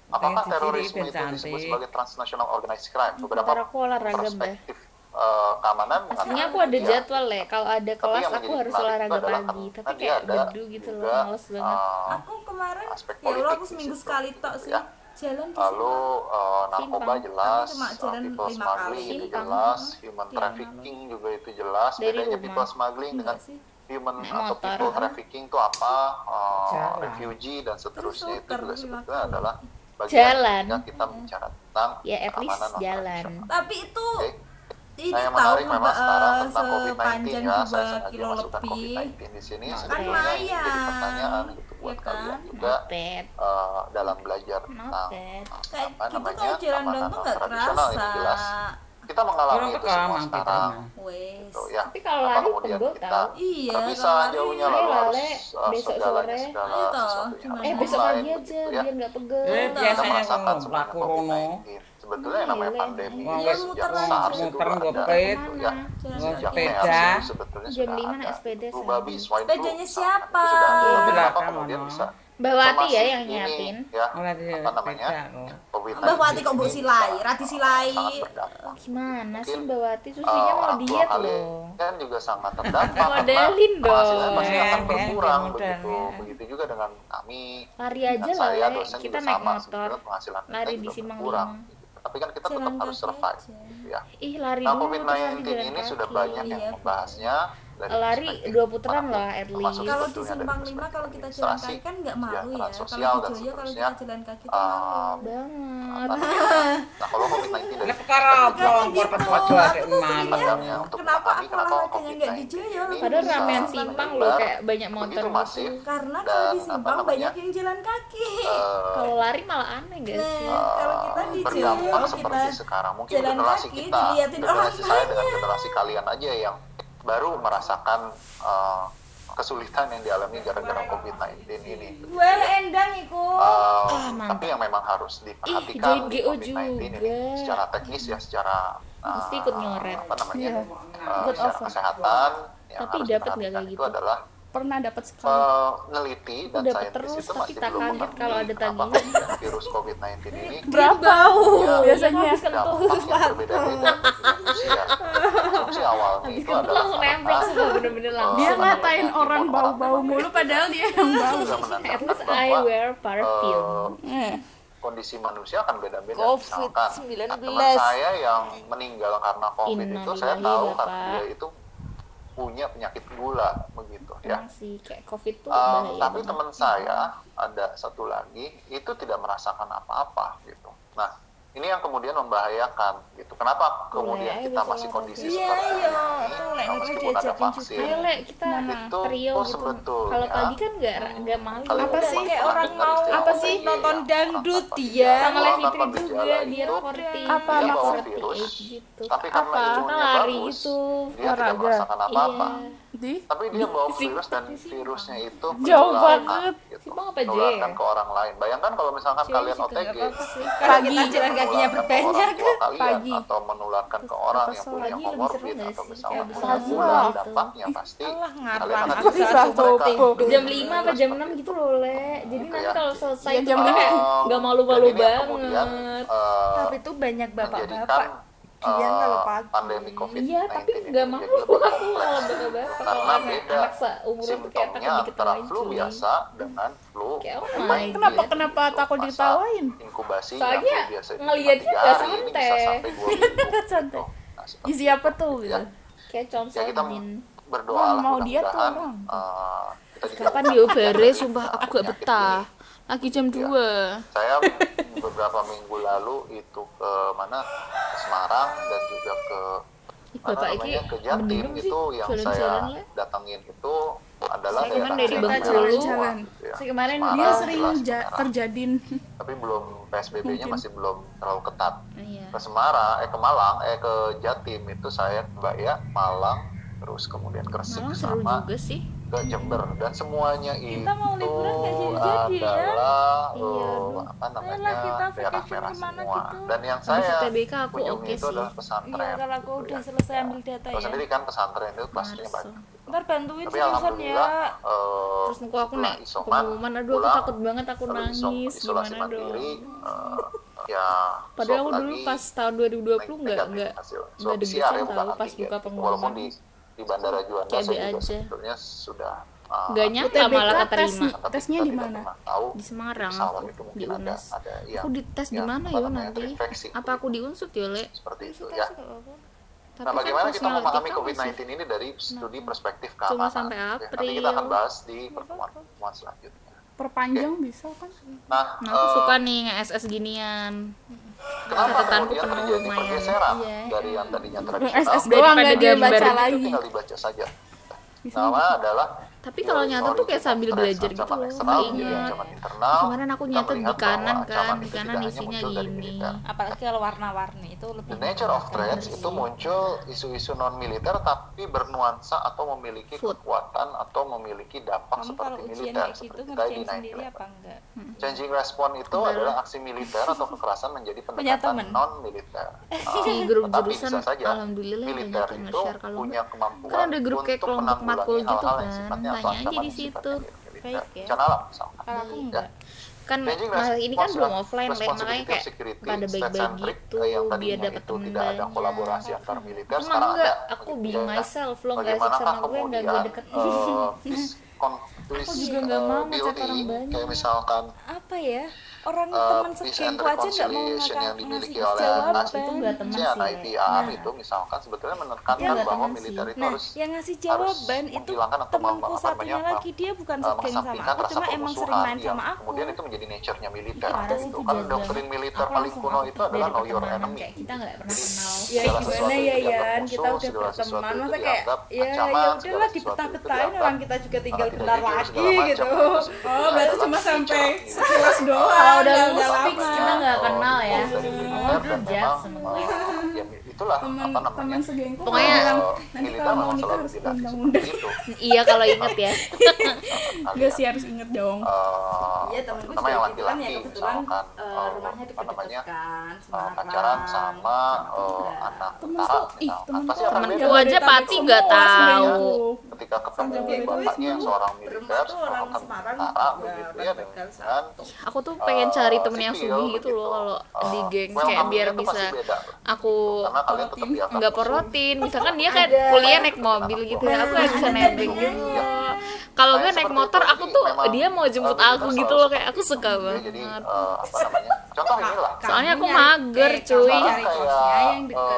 A: Apakah
I: Pengen
A: terorisme
I: sendiri,
A: itu
I: pengen
A: disebut
I: cantik.
A: sebagai transnational organized crime?
D: Ntar
A: Beberapa
D: aku olahraga mbah.
A: perspektif eh, keamanan
D: Aslinya
A: mengatakan
D: aku ada
A: iya.
D: jadwal ya. Kalau ada
A: Tapi
D: kelas
A: yang
D: aku
A: menjadi
D: harus
A: menarik
D: olahraga
A: itu adalah
D: pagi.
A: karena
D: Tapi
A: dia
D: kayak
A: ada
D: bedu gitu loh,
A: juga,
D: males banget.
A: eh,
H: Aku kemarin,
A: Aspek
H: ya Allah
A: politik
H: aku
A: di
H: seminggu
A: situ,
H: sekali
A: gitu
H: tok
A: ya.
H: sih. Jalan di
A: lalu eh, narkoba
D: Simpang.
A: jelas, eh,
H: Kami cuma jalan
A: people
H: lima
A: smuggling
H: kali.
A: itu
D: Simpang.
A: jelas, human trafficking juga itu jelas.
D: Iya, Dari
A: Bedanya
D: rumah. Iya
A: people smuggling dengan
H: sih?
A: human
D: Naik
A: atau
D: motor.
C: ah.
A: people trafficking itu apa? eh,
I: Jalan.
A: refugee dan seterusnya itu
H: Terus suka
A: juga
H: lima
A: sebetulnya adalah bagian
D: Jalan.
A: ketika kita
C: Iya.
A: bicara tentang
D: Ya, at least
A: keamanan
D: jalan.
A: non-tradisional.
C: Tapi itu
A: Oke.
C: Oh, ini
A: Nah, yang
C: tahu
A: menarik memang
C: mbak
A: sekarang
C: eh,
A: tentang COVID-19
C: sepanjang
A: ya. Saya
C: dua
A: sengaja
C: kilo
A: masukkan
C: lebih.
A: COVID-19 di sini
C: Kan
A: sebetulnya ini jadi
C: lumayan.
A: pertanyaan gitu buat
C: Iya
A: kalian
C: kan?
A: juga
D: Pet.
A: eh, dalam belajar tentang
D: Noted.
C: Kayak
A: apa
C: gitu
A: namanya
C: kalau jalan
A: keamanan
C: doang tuh nggak
A: non-tradisional ini
C: kerasa.
A: jelas kita mengalami
I: Orang
A: itu
I: tekan
A: semua
I: mampir
A: sekarang
I: rumah.
C: Wes.
A: gitu ya
D: Tapi kalau
A: Apa
D: lari
A: kemudian
D: pegel
A: kita
D: tau.
C: Iya,
A: nggak bisa
C: kalau lari-
A: jauhnya lalu
D: Ayo,
A: harus
D: Lale,
A: eh,
D: besok
A: segalanya
D: sore.
A: segala
C: Ayo, toh,
A: sesuatunya
C: cuman-
D: Eh besok pagi
A: online,
D: aja
A: begitu ya.
D: biar nggak pegel.
I: Eh,
A: Kita
I: biasanya
A: merasakan
I: kalau
A: semuanya
I: laku rono.
A: COVID-19. sebetulnya yang namanya
D: Lele.
A: pandemi
I: Wong
A: ya sejak
I: wis
C: Iya, muter, Iya,
A: SARS itu
I: muter,
A: ada
I: ngopet.
A: gitu ya.
C: Jalan
I: Nggak
A: Sejak
C: kaki.
I: Sepeda.
A: MERS itu sebetulnya
D: Jam
A: sudah
D: lima
A: ada.
D: naik sepeda
A: Flu
D: sehari.
A: babi, swine flu, sama.
C: Sepedanya
A: Itu
C: siapa?
A: sudah ada.
I: Iya.
A: Kenapa
I: Belakang,
A: kemudian
I: Mama.
A: bisa
D: Bawati ya
A: termasuk
D: yang
A: ini,
D: nyiapin.
A: ya,
I: Mulai dari
A: apa namanya
I: sepeda, loh.
A: COVID-19
C: Mbak Wati kok mbok
A: ini
C: silai,
A: bisa
C: rati silai.
A: sangat berdampak.
D: Gimana sih
A: Mungkin,
D: Bawati
A: Eh,
D: susunya mau
A: orang tua
D: diet
A: kali
D: loh.
A: kan juga sangat terdampak
D: Modelin
A: karena penghasilannya
D: dong.
C: Iya,
A: pasti akan
I: Ya,
A: berkurang
I: ya,
A: begitu
I: modelnya.
A: begitu juga dengan kami
D: Lari Iya aja
A: Dan
D: lah,
A: kan saya,
D: Le.
A: dosen
D: kita
A: juga
D: naik
A: sama,
D: motor.
A: sebetulnya penghasilan kita
D: Lari
A: juga
D: di Simang
A: berkurang.
D: Lima.
A: tapi kan kita tetap
C: Jalan
A: harus
C: kaki
A: survive
C: aja.
A: gitu ya
D: Ih lari
A: nah
D: dulu terus
A: COVID-19
D: nanti jalan
A: ini
D: kaki. kan.
A: sudah banyak yang
C: Iya.
A: membahasnya dari
D: Lari
A: perspektif
D: dua putaran
A: manapun,
D: lah, at
A: termasuk
D: least.
C: Kalau di
A: sebetulnya dari
C: simpang lima
A: perspektif
C: kalau kita jalan
A: administrasi,
C: kaki kan nggak malu ya.
A: kesejahteraan sosial
C: Kalau
A: dan
C: di Joyo kalau
A: seterusnya. Ah,
C: kita jalan kaki tuh malu.
D: Banget.
A: Apa namanya? nah kalau COVID-19 dari
I: Lah perkara apa
C: Kayak
I: buat
C: gitu,
I: perkara
C: aku
I: ada
C: tuh
I: malu.
A: pandangnya Iya, untuk
C: Kenapa
A: memahami
C: aku olahraganya
A: COVID-19
C: nggak di Joyo?
A: ini
D: Padahal
A: bisa
D: ramen
C: Bisa.
D: simpang loh
A: menyebar
D: kayak banyak motor
A: begitu masif
D: gitu.
C: Karena
A: Dan
C: kalau di
A: apa
C: simpang
A: namanya?
C: banyak yang jalan kaki.
A: eh,
D: Kalau lari malah aneh
A: Iya.
D: gak sih?
C: Nah, kalau kita di
A: Ah, berdampak
C: Joyo
A: seperti
C: kita
A: sekarang mungkin
C: jalan
A: generasi
C: kaki,
A: kita
C: diliatin
A: generasi
C: orang
A: saya dengan generasi kalian aja yang baru merasakan eh, kesulitan yang dialami gara-gara
C: Iya.
A: COVID-19 ini
C: Well endang iku.
A: Eh,
D: Ah, mantap.
A: tapi yang memang harus
D: Ih,
A: diperhatikan
D: join
A: di
D: GO
A: COVID-19 ini
D: juga.
A: secara teknis ya secara eh,
D: Mesti ikut nyoret.
A: apa namanya
G: Iya.
A: eh,
D: Ikut
A: secara
D: over.
A: kesehatan yang
D: Tapi
A: harus
D: dapat nggak kayak
A: diperhatikan itu
D: gitu?
A: adalah
G: Pernah dapat sekali.
A: peneliti dan
D: Dapat
A: saintis
D: terus,
A: itu
D: tapi
A: masih
D: tak
A: belum
D: kaget
A: mengerti
D: kalau ada
A: kenapa
D: tagihan.
A: kemudian virus COVID-19 ini
G: Berapa?
A: Iya.
G: Biasanya.
A: dampak yang berbeda-beda bagi manusia. Asumsi awalnya
D: Habis
A: itu
D: itu langsung
A: adalah
D: nempel
A: karena
D: semua bener-bener langsung.
G: Dia
A: Iya.
G: ngatain orang bau-bau mulu padahal dia yang bau.
A: sudah
D: At
A: menandakan
D: least I
A: bahwa
D: wear perfume.
A: eh,
G: Eh,
A: kondisi manusia akan beda-beda.
D: COVID-19.
A: Misalkan nah, teman saya yang meninggal karena COVID itu saya
D: Innalillahi,
A: tahu
D: Bapak.
A: karena dia itu punya penyakit gula begitu ya.
D: Emang sih kayak covid tuh
A: Um,
D: Nah, bahaya
A: tapi
D: banget. Iya.
A: teman saya ada satu lagi itu tidak merasakan apa-apa gitu. Nah ini yang kemudian membahayakan gitu. Kenapa kemudian
D: Mulai
A: kita
D: aja
A: masih
D: salah
A: kondisi
C: lagi.
A: seperti
C: Iya, iya.
A: ini?
C: Tuh,
A: nah,
C: Lek, Nur
A: meskipun ada
C: diajakin
A: vaksin,
D: Ayo Le, kita
A: Nah, Itu
D: trio
A: pun
D: gitu.
A: sebetulnya,
D: Kalau pagi kan nggak nggak
A: hmm,
D: malu.
A: kalian
G: Apa
A: udah
G: sih?
A: menggunakan
C: Orang
A: istilah
C: mau-
A: orang
G: apa sih?
A: tanpa
G: Nonton
A: gejala,
G: dangdut
A: orang
G: dia.
A: tanpa
D: sama Levi
A: gejala
D: Trip
A: itu
D: juga dia
A: dia
D: 40
G: Apa, apa?
A: bawa Iya,
D: 48
A: virus,
D: gitu
A: tapi karena
G: Apa?
A: imunnya
D: lari
A: bagus,
D: itu
A: dia tidak merasakan apa-apa
D: iya
G: di
A: tapi dia bawa virus dan virusnya itu
G: Jauh
A: menularkan,
G: banget.
A: gitu.
D: Simpang apa, J?
A: Menularkan ke orang lain bayangkan kalau misalkan kalian OTG
G: pagi.
A: jalan kakinya berbanyak
D: kan.
G: Pagi.
A: atau menularkan ke orang yang
D: Pagi
A: punya
D: lebih seru
A: komorbid
D: nggak
A: atau
D: sih?
A: misalnya
D: Kayak
A: punya
G: bisa
A: gula
G: gitu.
A: dampaknya pasti
I: Alah, ngarang.
A: kalian akan
I: Aku
A: bisa
G: bisa
A: mereka
G: bobo.
A: gitu.
D: jam 5 apa jam 6 gitu loh le jadi
A: Gitu
D: nanti
A: ya.
D: kalau selesai
G: Iya,
D: itu
G: jam
D: kita kayak
A: Um,
D: nggak malu-malu
A: dan ini yang kemudian,
D: banget
A: eh,
H: Tapi itu banyak
A: menjadikan
H: bapak-bapak.
A: eh,
H: kalau pagi.
A: pandemi COVID-19
D: iya tapi
A: ini
D: nggak
A: menjadi
D: malu
A: lebih kompleks.
D: aku kalau bapak-bapak kalau
A: Karena
D: anak
A: beda
D: anak seumuran tuh kayak
A: simptomnya
D: takut dikit
A: antara
D: lagi.
A: flu biasa dengan flu
D: Kayak, oh
A: main
D: my
A: game.
G: Kenapa kenapa
A: Itu
G: takut
A: masa
G: ditawain?
A: Inkubasinya
D: Soalnya
A: flu biasa itu
D: ngeliatnya
A: cuma tiga
D: nggak
A: hari, ini bisa
D: santai.
A: sampai dua minggu.
G: Santai.
A: Nah, seperti
G: Isi apa tuh
A: ya.
G: gitu?
A: Ya,
D: kayak
A: kita
D: consolin
A: berdoa
G: Mau-
A: lah
G: mau dia tuh orang.
A: mudah-mudahan, eh, kita juga
D: kapan
A: bisa
D: diobere
A: menghindari,
D: sumpah
A: eh,
D: aku gak
A: penyakit
D: betah
A: ini.
D: lagi jam 2
A: Saya beberapa minggu lalu itu ke mana ke Semarang dan juga ke
D: Ih,
A: mana
D: bapak
A: namanya
D: ini
A: ke Jatim
D: mendem sih
A: itu yang saya
D: jalan-jalan lah
A: datangin itu adalah
D: Saya kemarin dari
A: daerah
D: Bengkulu.
A: daerah semua,
G: Jalan-jalan.
A: gitu ya.
D: saya kemarin
A: Semarang,
G: Dia sering
A: jelas
G: ja-
A: Semarang.
G: terjadin.
A: tapi belum PSBB-nya masih belum terlalu ketat.
D: iya
A: Ke Semarang, eh ke Malang, eh ke Jatim itu saya ke Bayak, Malang, terus kemudian Gresik
D: malah seru
A: sama
D: juga sih
A: ke Jember dan semuanya itu
H: mau liburan nggak jadi-jadi, ya?
A: adalah
D: Iya,
A: eh,
D: aduh.
A: apa namanya
H: Ayolah, kita
A: daerah
H: vacation
A: merah
H: kemana
A: semua.
H: gitu.
A: Dan yang
D: Habis
A: saya
D: TBK aku
A: kunjungi
D: oke
A: itu
D: sih
A: adalah pesantren.
H: Iya, kalau aku
A: gitu
H: udah
A: ya.
H: selesai ambil data
A: Tahu
H: ya.
A: sendiri kan pesantren itu kelasnya
D: Marso.
A: banyak. gitu.
H: Ntar bantuin
A: Tapi
H: seriusan
A: alhamdulillah
H: ya.
A: eh,
D: terus aku aku
A: setelah
D: naik
A: isoman,
D: pengumuman aduh aku
A: pulang,
D: takut banget aku
A: lalu iso-
D: nangis
A: isolasi
D: gimana dong
A: mandiri, eh, ya
D: padahal
A: swab
D: aku dulu
A: lagi,
D: pas tahun 2020 nggak
A: negatif
D: nggak
A: hasil
D: nggak
A: swab
D: deg-degan
A: PCR ya, bukan
D: tahu pas
A: antigen.
D: buka
A: walaupun
D: pengumuman
A: di di bandara Juanda
D: Kayak
A: saya
D: B
A: juga
D: aja.
A: sebetulnya sudah uh,
D: nggak nyangka
G: UTBK
D: malah
G: tes
D: keterima
A: tapi
G: Tesnya
A: kita
G: di
A: tidak
G: mana?
A: pernah tahu
D: di Semarang
A: pesawat
D: aku
A: itu
D: di
A: mungkin ada
D: UNAS
A: ada yang
D: aku dites di
A: yang
D: mana
A: apa
D: ya
A: namanya,
D: nanti
A: terinfeksi.
D: apa aku diunsut ya le
A: seperti itu ya
D: tapi kan
A: nah bagaimana kita
D: personality
A: memahami
D: kamu
A: COVID-19
D: sih. Nah,
A: ini dari studi perspektif
D: Cuma
A: keamanan
D: sampai
A: ya. nanti kita
D: April. Iya,
A: akan bahas di pertemuan pertemuan selanjutnya
B: perpanjang bisa kan?
A: Nah,
D: Nah, aku
A: eh,
D: suka nih nge-SS ginian.
A: kenapa
D: catatanku
A: kemudian
D: penuh
A: terjadi
D: lumayan.
A: pergeseran
H: Iya.
A: dari yang tadinya
B: SS
A: tradisional?
B: doang
D: Daripada
B: gak dia
D: gambar
B: baca
D: gitu,
A: Itu
B: lagi.
A: tinggal dibaca saja.
B: Bisa
A: Nama adalah
D: Tapi kalau nyata tuh kayak sambil belajar gitu loh.
J: Iya.
D: Ingat. Kemarin aku nyata di kanan kan, di kanan isinya gini.
J: apalagi kalau warna-warni itu lebih
A: The nature of threats itu muncul isu-isu non-militer tapi bernuansa atau memiliki
D: Food.
A: kekuatan atau memiliki dampak
J: kamu kalau
A: seperti
J: ujian
A: militer.
J: kayak gitu
A: seperti tadi
J: ngerjain sendiri
A: 9/11.
J: apa enggak
A: Changing response itu adalah aksi militer atau kekerasan menjadi
J: Punya
A: pendekatan
J: temen.
A: non-militer. Ah,
D: Di grup
A: tetapi
D: jurusan,
A: bisa saja,
D: alhamdulillah banyak
A: militer
D: yang
A: itu
D: nge-share kalau
A: punya kemampuan
D: Kan ada grup kayak
A: untuk
D: kelompok
A: menanggulangi
D: matkul gitu
A: hal-hal yang
D: kan.
A: sifatnya atau
D: Tanya aja
A: ancaman
D: di
A: sifatnya
D: situ.
A: militer.
J: Baik ya.
A: Bencana alam misalkan.
J: kalau aku
A: Ya.
J: enggak
D: Kan
A: Changing
D: masa ini kan
A: response
D: belum
A: dan
D: offline, Beb.
A: responsibility
D: makanya kayak
A: of security,
D: pada
A: state-centric,
D: baik-baik gitu
A: eh, yang
D: biar
A: tadinya
D: dapat
A: itu
D: temen
A: tidak ada
D: banyak.
A: kolaborasi antar militer
D: Emang
A: sekarang
D: enggak,
A: ada
D: aku
A: begitu
D: being
A: ya.
D: myself, lo nggak asik
A: Bagaimanakah
D: sama gue, nggak gue
A: kemudian,
D: deketin.
A: eh, this con- this,
D: juga nggak
A: eh,
D: mau ngecat
A: beauty,
D: orang banyak.
A: kayak misalkan
J: apa ya orang
A: Eh,
J: teman
A: peace
J: sekengku
A: and
J: aja nggak mau
A: reconciliation yang
J: ngaka- ngasih
A: dimiliki oleh
J: jawaban
A: Nasdem.
D: Buat temen
A: si
D: sih.
A: anak IPR Iya, itu misalkan sebetulnya
J: Iya,
A: menekankan
J: nggak
A: bahwa
D: temen sih.
A: militer itu
J: nah
A: harus
J: yang ngasih
A: harus
J: jawaban itu
A: menghilangkan atau
J: temanku
A: mem- apa
J: satunya
A: namanya,
J: lagi dia bukan
A: eh,
J: segeng sama
A: mengesampingkan
J: aku
A: rasa
J: cuma emang sering
A: permusuhan
J: main
A: yang
J: sama aku
A: iya. kemudian itu menjadi nature-nya militer
D: Parah sih
A: gitu
D: itu
A: kan
D: jagoan.
A: doktrin militer
D: Aku
A: paling
D: langsung
A: kuno
D: output
A: itu adalah
D: dari
A: know your
D: pertemanan,
A: enemy Iya,
D: kayak kita nggak pernah kenal
G: ya
A: Segala sesuatu
G: gimana
A: yang
G: ya
A: dianggap
G: Yan kita udah
A: musuh, segala sesuatu
G: berteman
A: itu
G: masa kayak
A: dianggap
G: ya
A: ancaman,
G: ya
A: segala
G: udahlah
A: sesuatu itu
G: dipetah-petahin
A: dianggap
G: orang kita juga tinggal
A: anak
G: bentar
A: individu,
G: lagi
A: segala macam. Nah,
G: gitu oh berarti
A: Itu sebetulnya adalah
G: cuma
A: nature
G: sampai
A: gitu.
G: sekilas doang
C: Oh,
D: Kalau udah
G: nggak
D: lulus
G: lama.
D: fix kita nggak kenal ya.
A: Oh, dari militer
D: itu
A: dan
D: jahat
A: memang,
D: sama
A: eh, ya, itulah
B: Teman
A: apa namanya
B: teman segengku
D: Pokoknya-
B: bilang,
A: eh,
B: nanti
A: militer
B: kalau mau
A: memang
B: nikah
A: selalu
B: harus
A: tidak
B: undang-undang.
A: seperti itu
D: Iya kalau inget ya.
B: Enggak sih harus inget dong.
A: Iya,
G: Iya temenku
A: terutama
G: juga
A: yang
G: gitu kan ya
A: laki-laki
G: kebetulan
A: misalkan
G: eh,
A: eh,
G: rumahnya
A: apa
G: deket-deket
A: namanya
G: kan
A: eh,
G: Semarang.
A: pacaran sama eh, anak utara misalkan pasti akan
D: Temenku
A: beda
D: aja Pati nggak tahu.
A: ketika ketemu
G: Sampai gitu,
A: bapaknya yang
G: itu
A: seorang
G: berempat
A: militer
G: tuh
A: seorang
G: orang Semarang
A: tentara
G: juga
A: begitu ya
G: bakal
A: dengan
D: Aku tuh pengen
A: eh,
D: cari temen yang
A: sipil
D: sungguh gitu
A: begitu.
D: loh kalau
A: Eh,
D: di geng
A: welcome
D: kayak biar
A: itu pasti
D: bisa
A: beda.
D: aku
A: karena kalian tetap dianggap
D: nggak
A: musuh.
D: perrotin misalkan dia kayak kuliah naik mobil gitu ya aku kayak bisa nebeng
A: Iya.
D: gitu kalau gue naik motor aku tuh dia mau jemput aku gitu loh kayak aku suka
A: Ya, jadi
D: banget
A: eh, apa namanya contoh inilah
D: soalnya aku mager
A: Sekarang
G: cari cosnya yang
D: cuy
G: deket
A: eh,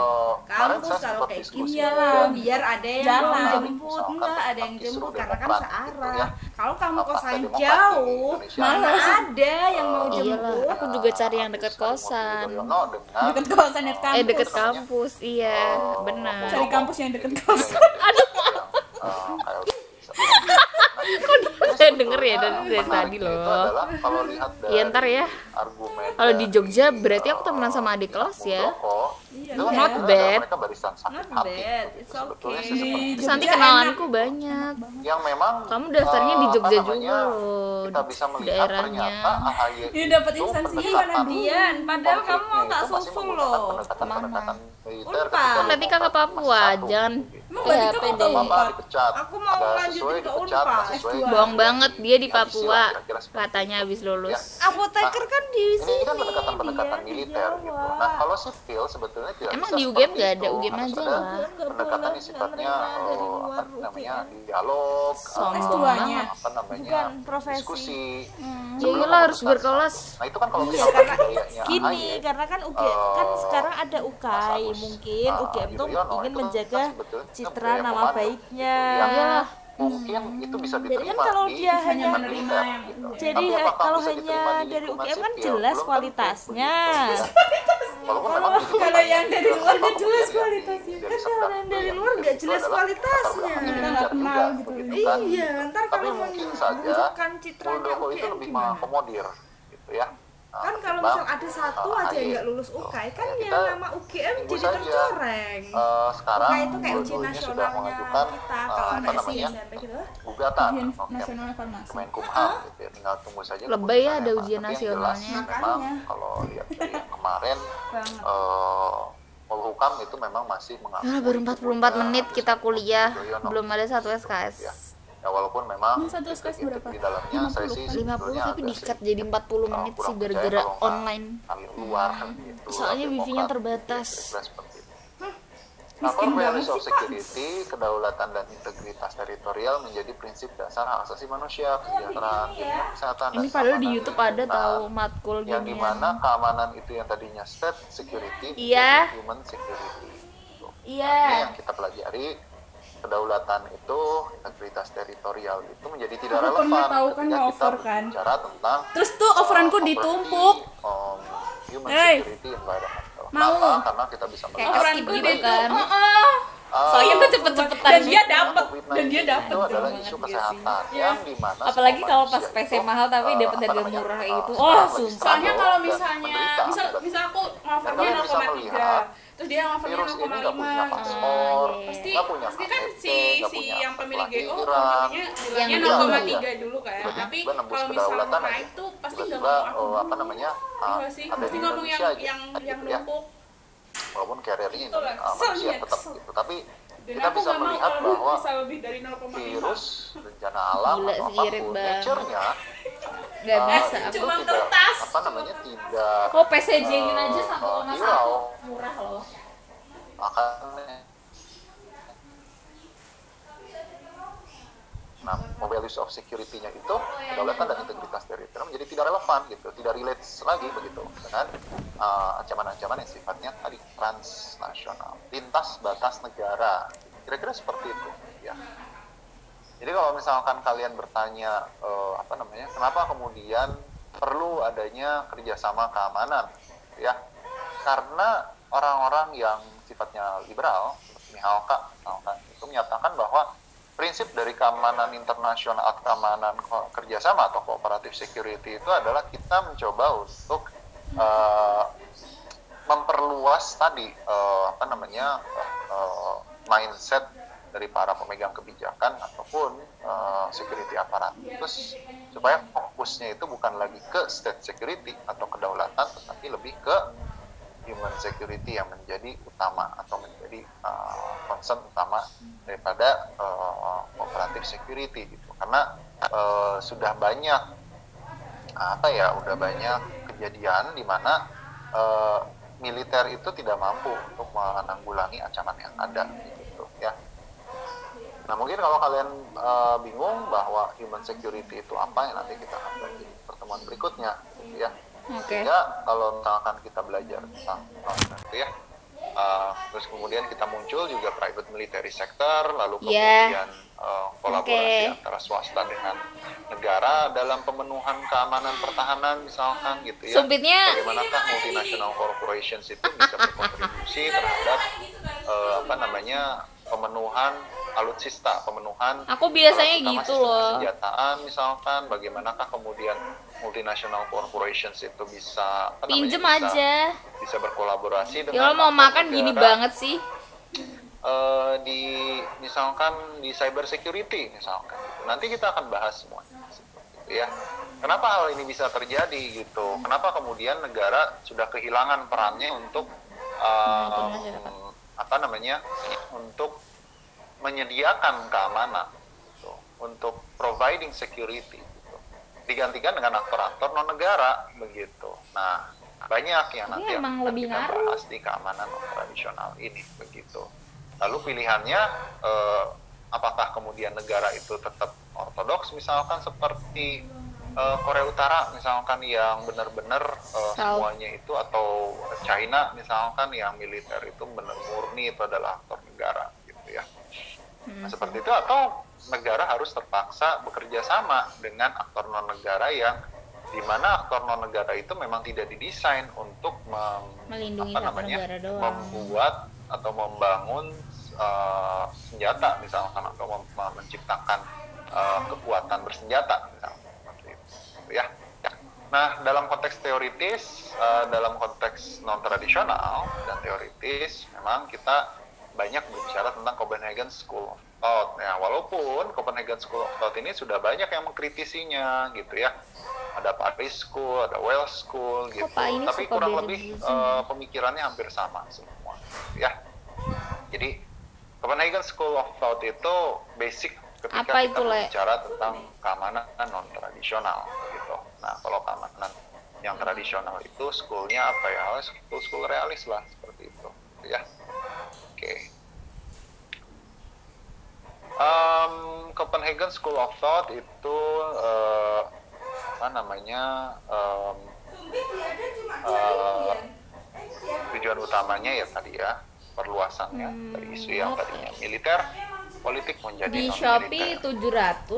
A: kemarin
G: kampus kalau
A: saya sempat
G: kayak
A: diskusi
G: gini ya
A: juga. kan.
G: lah biar ada yang
A: Jalan.
G: mau jemput
A: Misalkan
G: enggak ada yang
A: Pakis
G: jemput
A: Rudolf
G: karena kan
A: Pratt gitu ya.
G: searah kalau kamu
A: Apakah
G: kosan
A: demokrat di
G: jauh
A: Indonesia
G: mana
A: ini?
G: ada yang mau
A: Eh,
G: jemput
D: aku juga cari yang dekat
A: Agus
D: kosan.
A: Harimurti Yudhoyono dengan,
B: Deket kosan deket
D: eh
B: kampus.
D: deket kampus iya
A: eh,
D: benar
B: Cari kampus yang deket kosan.
A: eh, kayak
D: saya denger ya dari, dari
A: menariknya
D: tadi
A: itu
D: loh
A: adalah kalau lihat dari
D: Iya ntar ya
A: argumen
D: Kalau di
A: dari,
D: Jogja berarti aku
A: eh,
D: temenan sama adik kelas ya.
A: Muldoko, itu
D: Not
A: sebetulnya
D: bad.
A: adalah mereka barisan sakit
G: Not
A: hati
G: bad,
A: gitu.
G: it's
A: Sebetulnya
G: okay.
A: sih seperti
D: Terus
A: itu.
D: nanti kenalanku banyak
A: yang memang
D: kamu daftarnya di
A: eh,
D: Jogja
A: apa namanya,
D: juga loh
A: kita bisa melihat
D: daerahnya
A: ternyata AHY
G: Ini dapat
A: itu
G: instansinya
A: pendekatan
G: mana
C: Iya,
G: Dian? Padahal kamu mau tak
A: konfliknya itu Eh, masih
G: susul
A: menggunakan
G: loh.
A: pendekatan-pendekatan militer
G: Unpad.
A: ketika demokrat
D: Nanti kan ke
A: masih satu.
D: Papua, jangan-
G: Emang
D: Iya,
G: berarti kamu
D: PD.
G: tahu
A: Apa-apa
G: Pak?
A: dipecat.
G: Aku mau
A: Ada sesuai
G: lanjutin ke
A: dipecat,
G: Unpad
A: ada sesuai
G: S2.
A: dipecat.
D: bohong banget dia di
A: Habisi lah,
D: Papua
A: kira-kira seperti itu. Ya. Nah,
D: katanya habis lulus
J: apoteker kan di
A: ini
J: sini Iya,
A: kan pendekatan-pendekatan
J: dia di
A: militer gitu.
J: Jawa.
A: Nah kalau sipil sebetulnya tidak
D: Emang
A: bisa
D: di UGM
A: seperti
D: nggak ada?
A: itu.
D: UGM
A: Harus
D: aja
A: ada
D: lah.
A: Pendekatan yang sifatnya
J: nerima dari
A: oh, apa
J: luar
A: namanya dialog,
D: sombong
A: eh,
D: banget
A: apa namanya
J: Bukan, profesi. Hmm.
A: diskusi.
D: ya
A: Sebelum
D: iyalah harus
A: memutuskan
D: berkelas
A: satu. Nah itu kan kalau
J: Iya,
A: misalkan
J: karena
A: budayanya AHY, ya.
J: Gini, karena kan UGM kan
A: eh,
J: sekarang ada
A: Mas
J: UKAI,
A: Agus,
J: mungkin
A: eh,
J: UGM tuh
A: Yudhoyono,
J: ingin
A: itu kan
J: menjaga
A: sebetulnya
J: citra
A: budaya
J: nama
A: komando,
J: baiknya.
A: gitu,
G: Iya.
A: yang Mungkin
G: Hmm.
A: itu bisa diterima
J: kan kalau
A: di
J: dia hanya
A: lingkungan
J: menerima
A: militer,
G: yang-
A: gitu. Tapi
J: Jadi he-
A: apakah
J: kalau
A: bisa
J: hanya
A: diterima di
J: dari
A: lingkungan
J: UGM kan
A: sipil?
J: jelas
A: Belum tentu,
J: kualitasnya.
A: begitu, ya. Walaupun memang begitu
G: Iya. Kalau yang
A: banyak.
G: dari luar nggak
A: Apapun
G: jelas
A: yang di-
G: kualitasnya. Kan
A: dari sektor
G: kalau yang dari
A: yang
G: luar nggak
A: Iya, itu
G: jelas
A: adalah
G: kualitasnya.
A: orang-orang
G: Kita
A: militer
G: nggak
A: juga,
G: kenal gitu.
A: begitu kan.
G: Iya, ntar
A: Tapi
G: kalau mau
A: mungkin saja
G: menunjukkan citranya
A: Muldoko itu
G: UGM
A: lebih
G: gimana?
A: mengakomodir gitu ya. Nah,
G: Kan kalau
A: ketimbang,
G: misal ada satu
A: eh,
G: aja yang
A: AHY.
G: nggak lulus UKAI kan
A: Ya,
G: yang
A: kita
G: nama UGM
A: tunggu
G: jadi
A: saja.
G: tercoreng.
A: Eh, sekarang
G: UKAI itu kayak ujian
A: dua-duanya sudah
G: nasionalnya
A: mengajukan
G: kita
A: eh,
G: kalau
A: apa
G: ada SI
A: namanya
G: SMP gitu.
A: gugatan
B: Ujian
A: Oke,
B: Iya, Nasional Ah, Farmasi.
A: Kemenkumham gitu ya. Tinggal tunggu saja
D: Lebay ya,
A: keputusannya
D: ada
A: apa.
D: ujian
A: Tapi yang jelas,
D: nasionalnya.
A: memang
G: Makanya.
A: kalau lihat dari yang kemarin
G: Banget.
A: eh Polhukam itu memang masih mengakui
D: Ah, baru
A: iya.
D: 44 menit kita kuliah belum ada satu
A: ya.
D: SKS
A: Ya, walaupun memang
B: Ini satu SKS
A: titik-titik
B: berapa?
A: di dalamnya saya sih
D: 50
A: sebetulnya
D: tapi
A: agak
D: di-cut
A: sedikit,
D: jadi
A: eh,
D: 40 menit sih
A: iya, kurang
D: gara-gara
A: percaya kalau
D: online Hmm.
A: nggak ambil luar gitu,
D: Soalnya
A: ambil
D: wifi-nya
A: kontrak,
D: terbatas.
A: kira-kira seperti itu. Lapor values of security, kedaulatan dan integritas teritorial menjadi prinsip dasar hak asasi manusia, kesejahteraan, lindungan kesehatan, dan
D: ini padahal di
A: keamanan
D: YouTube ada
A: lingkungan.
D: tahu matkul
A: kan? yang
D: gini
A: dimana keamanan itu yang tadinya state security,
D: Iya.
A: jadi human security. Gitu.
D: Iya.
A: Ini yang kita pelajari kedaulatan itu integritas teritorial itu menjadi tidak
B: Aku
A: relevan
B: pernah tahu kan
A: ketika
B: nge-offer
A: kita
B: kan.
A: bicara tentang
B: Terus tuh offeranku
A: uh, property,
B: ditumpuk.
A: um, human
B: Hey.
A: security environmental.
B: Mau.
A: Kenapa? Karena kita bisa
D: Kayak
A: melihat
D: skip gitu kan.
A: uh,
D: Soalnya tuh cepet-cepetan
B: Ah,
D: gitu.
B: Dan dia dapat
A: COVID-19
B: dan dia Iya. dapat
A: itu adalah
B: banget
A: isu
B: dia sih.
A: kesehatan yang dimana
D: Apalagi
A: semua
D: kalau pas
A: manusia
D: PC
A: itu,
D: mahal tapi
A: eh,
D: dapat
A: apa
D: harga
A: namanya,
D: murah
A: eh,
D: gitu.
A: sekarang
D: Wah,
A: lagi
D: sumpah.
B: Soalnya
A: struggle
B: kalau
A: dan
B: misalnya,
A: menderita
B: misal,
A: akibat
B: misal aku
A: Karena
B: ngovernya
A: bisa melihat
B: 0,3 Terus dia ngovernya
A: virus ini nggak punya
B: 0,5 gitu
A: paspor,
B: Pasti,
A: nggak punya
B: pasti kan
A: KTP,
B: si,
A: nggak
B: si
A: punya
B: yang pemilik GO
A: pelahiran.
B: pemiliknya bilangnya
D: Yang
B: 0,3 dulu kan
A: Tiba-tiba
B: Tapi
A: Iya. nembus
B: kalau
A: ke
B: misalnya
A: daulatan aja.
B: naik tuh pasti nggak
A: Tiba-tiba,
B: mau aku
A: oh, apa namanya
B: Iya
A: ah,
B: nggak sih,
A: ada
B: pasti
A: di
B: ngomong yang
A: Indonesia aja
B: yang
A: Kayak
B: yang
A: gitu ya.
B: numpuk
A: walaupun karirnya
B: Gitu lah,
A: ah, manusia
B: keselnya,
A: tetap
B: kesel.
A: gitu tapi
B: Dan
A: kita
B: aku
A: bisa
B: nggak mau
A: melihat
B: kalau
A: bahwa
B: bisa lebih dari 0,5
A: virus bencana alam
D: Gila,
A: atau
D: sih, irit
A: apapun
D: banget.
A: nature-nya
D: Gak
A: ah,
D: bisa.
A: itu
D: aku.
B: Cuma
A: tidak,
B: kertas.
A: apa namanya tidak
D: Kok PCJ
A: eh,
D: in aja satu
A: eh,
D: koma
A: hirau.
D: satu murah loh.
A: makanya nah values of security-nya
D: Oh,
A: itu
D: iya.
A: kedaulatan dan integritas teritorial menjadi tidak relevan gitu tidak relate lagi begitu dengan eh, ancaman-ancaman yang sifatnya tadi transnasional lintas batas negara kira-kira seperti itu ya jadi kalau misalkan kalian bertanya eh, apa namanya kenapa kemudian perlu adanya kerjasama keamanan ya karena orang-orang yang sifatnya liberal seperti Mihalka misalkan, itu menyatakan bahwa prinsip dari keamanan internasional atau keamanan ko- kerjasama atau kooperatif security itu adalah kita mencoba untuk eh, memperluas tadi eh, apa namanya eh, eh, mindset dari para pemegang kebijakan ataupun eh, security aparatus supaya fokusnya itu bukan lagi ke state security atau kedaulatan tetapi lebih ke human security yang menjadi utama atau menjadi eh, concern utama daripada eh, kooperatif security gitu karena eh, sudah banyak apa ya udah banyak kejadian di mana eh, militer itu tidak mampu untuk menanggulangi ancaman yang ada gitu ya. Nah mungkin kalau kalian eh, bingung bahwa human security itu apa ya nanti kita akan belajar di pertemuan berikutnya gitu ya.
D: Oke.
A: Sehingga kalau misalkan kita belajar tentang tentang itu ya eh, terus kemudian kita muncul juga private military sector lalu
D: Yeah.
A: kemudian eh, kolaborasi
D: Iya. Oke.
A: antara swasta dengan negara dalam pemenuhan keamanan pertahanan misalkan gitu ya.
D: Sumpitnya-
A: bagaimanakah multinational corporations itu bisa berkontribusi terhadap eh, apa namanya pemenuhan alutsista, pemenuhan
D: Aku biasanya
A: terutama
D: gitu
A: sistem
D: loh.
A: Kesenjataan misalkan bagaimanakah kemudian multinational corporations itu bisa apa namanya,
D: Pinjem
A: bisa-
D: aja.
A: bisa berkolaborasi
D: Ya
A: dengan
D: lo mau
A: apa
D: makan gini
A: negara,
D: banget sih.
A: eh, di misalkan di cyber security misalkan gitu. nanti kita akan bahas semua ya kenapa hal ini bisa terjadi gitu kenapa kemudian negara sudah kehilangan perannya untuk eh, apa namanya untuk menyediakan keamanan gitu. untuk providing security gitu. digantikan dengan aktor-aktor non negara begitu nah banyak yang nanti yang
D: emang
A: akan
D: lebih
A: kita
D: ngaruh.
A: bahas di keamanan tradisional ini begitu lalu pilihannya eh, apakah kemudian negara itu tetap ortodoks misalkan seperti eh, Korea Utara misalkan yang benar-benar eh, semuanya itu atau China misalkan yang militer itu benar murni itu adalah aktor negara gitu ya Nah, seperti itu atau negara harus terpaksa bekerja sama dengan aktor non negara yang di mana aktor non negara itu memang tidak didesain untuk mem-
D: Melindungi
A: apa
D: satu negara doang.
A: membuat atau membangun eh, senjata misalkan atau mem- mem- menciptakan eh, kekuatan bersenjata misalkan seperti itu ya. Nah, dalam konteks teoritis, eh, dalam konteks non tradisional dan teoritis, memang kita banyak berbicara tentang Copenhagen School of Thought. Ya, walaupun Copenhagen School of Thought ini sudah banyak yang mengkritisinya, gitu ya. Ada Paris School, ada Wells School, gitu.
D: Pak, ini
A: Tapi
D: suka
A: kurang
D: beda
A: lebih
D: gitu
A: eh, pemikirannya hampir sama semua, gitu ya. Jadi Copenhagen School of Thought itu basic ketika
D: Apa
A: kita
D: itu, Le?
A: berbicara tentang keamanan non tradisional gitu. Nah kalau keamanan yang tradisional itu schoolnya apa ya? School school realis lah seperti itu, gitu ya. Oke. Em, Copenhagen School of Thought itu eh, apa namanya? em,
C: Sumbi dia ada cuma
A: Eh,
C: jari Eh, dia
A: tujuan utamanya ya tadi ya perluasannya dari isu yang tadinya militer politik menjadi
D: Hmm. Di
A: non-militer.
D: Shopee
A: ya. Oke.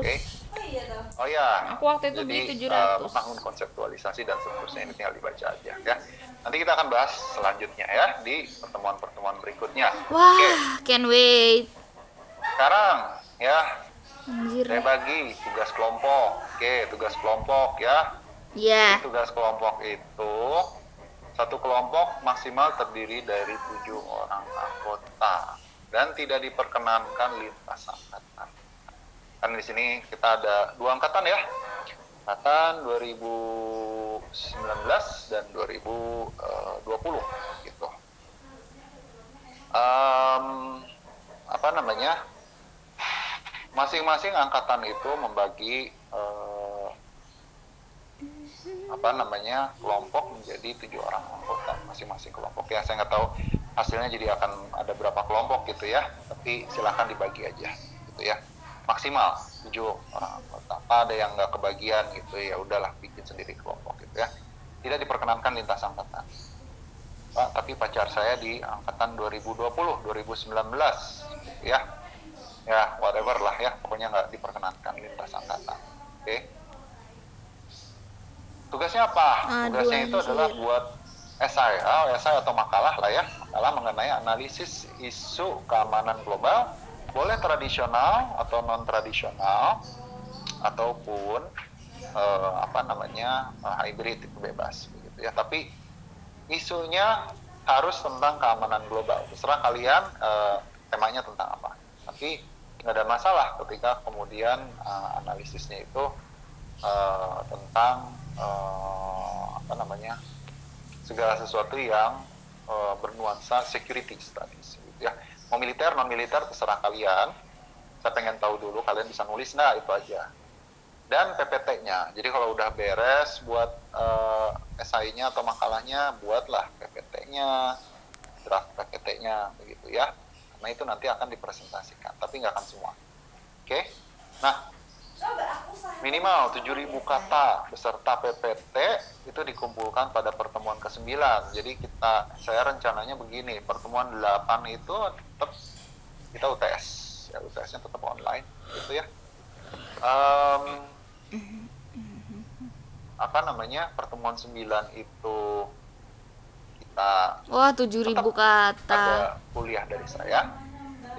D: 700.
C: Oh iya toh.
A: Oh ya.
D: Aku waktu itu
A: Jadi,
D: beli
A: eh,
D: 700.
A: membangun konseptualisasi dan seterusnya ini tinggal dibaca aja ya. Nanti kita akan bahas selanjutnya ya di pertemuan-pertemuan berikutnya.
D: Wah,
A: Oke,
D: can't wait.
A: sekarang ya
D: Anjir.
A: saya bagi tugas kelompok. Oke, tugas kelompok ya.
D: Ya.
A: Tugas kelompok itu satu kelompok maksimal terdiri dari tujuh orang anggota dan tidak diperkenankan lintas angkatan. Kan di sini kita ada dua angkatan ya. Angkatan 2019 dan 2020 gitu. Em, apa namanya? Masing-masing angkatan itu membagi eh, apa namanya kelompok menjadi tujuh orang anggota masing-masing kelompok ya saya nggak tahu hasilnya jadi akan ada berapa kelompok gitu ya tapi silahkan dibagi aja gitu ya maksimal tujuh orang anggota apa ada yang nggak kebagian gitu ya udahlah bikin sendiri kelompok gitu ya tidak diperkenankan lintas angkatan Pak, tapi pacar saya di angkatan 2020 2019 gitu ya ya whatever lah ya pokoknya nggak diperkenankan lintas angkatan oke tugasnya apa? tugasnya itu adalah buat esai, oh, esai atau makalah lah ya, makalah mengenai analisis isu keamanan global, boleh tradisional atau non tradisional, ataupun eh, apa namanya eh, hybrid itu bebas, begitu ya. Tapi isunya harus tentang keamanan global. Terserah kalian eh, temanya tentang apa. Tapi nggak ada masalah ketika kemudian eh, analisisnya itu eh, tentang eh, apa namanya segala sesuatu yang eh, bernuansa security studies gitu ya mau militer non militer terserah kalian saya pengen tahu dulu kalian bisa nulis nggak itu aja dan PPT-nya jadi kalau udah beres buat eh, SI-nya atau makalahnya buatlah PPT-nya draft PPT-nya begitu ya karena itu nanti akan dipresentasikan tapi nggak akan semua oke nah
C: Coba aku sah.
A: Minimal 7.000 kata beserta PPT itu dikumpulkan pada pertemuan ke-9. Jadi kita saya rencananya begini, pertemuan 8 itu tetap kita UTS. Ya UTS-nya tetap online gitu ya. Em, apa namanya? Pertemuan 9 itu kita
D: Wah, 7000 kata.
A: ada kuliah dari saya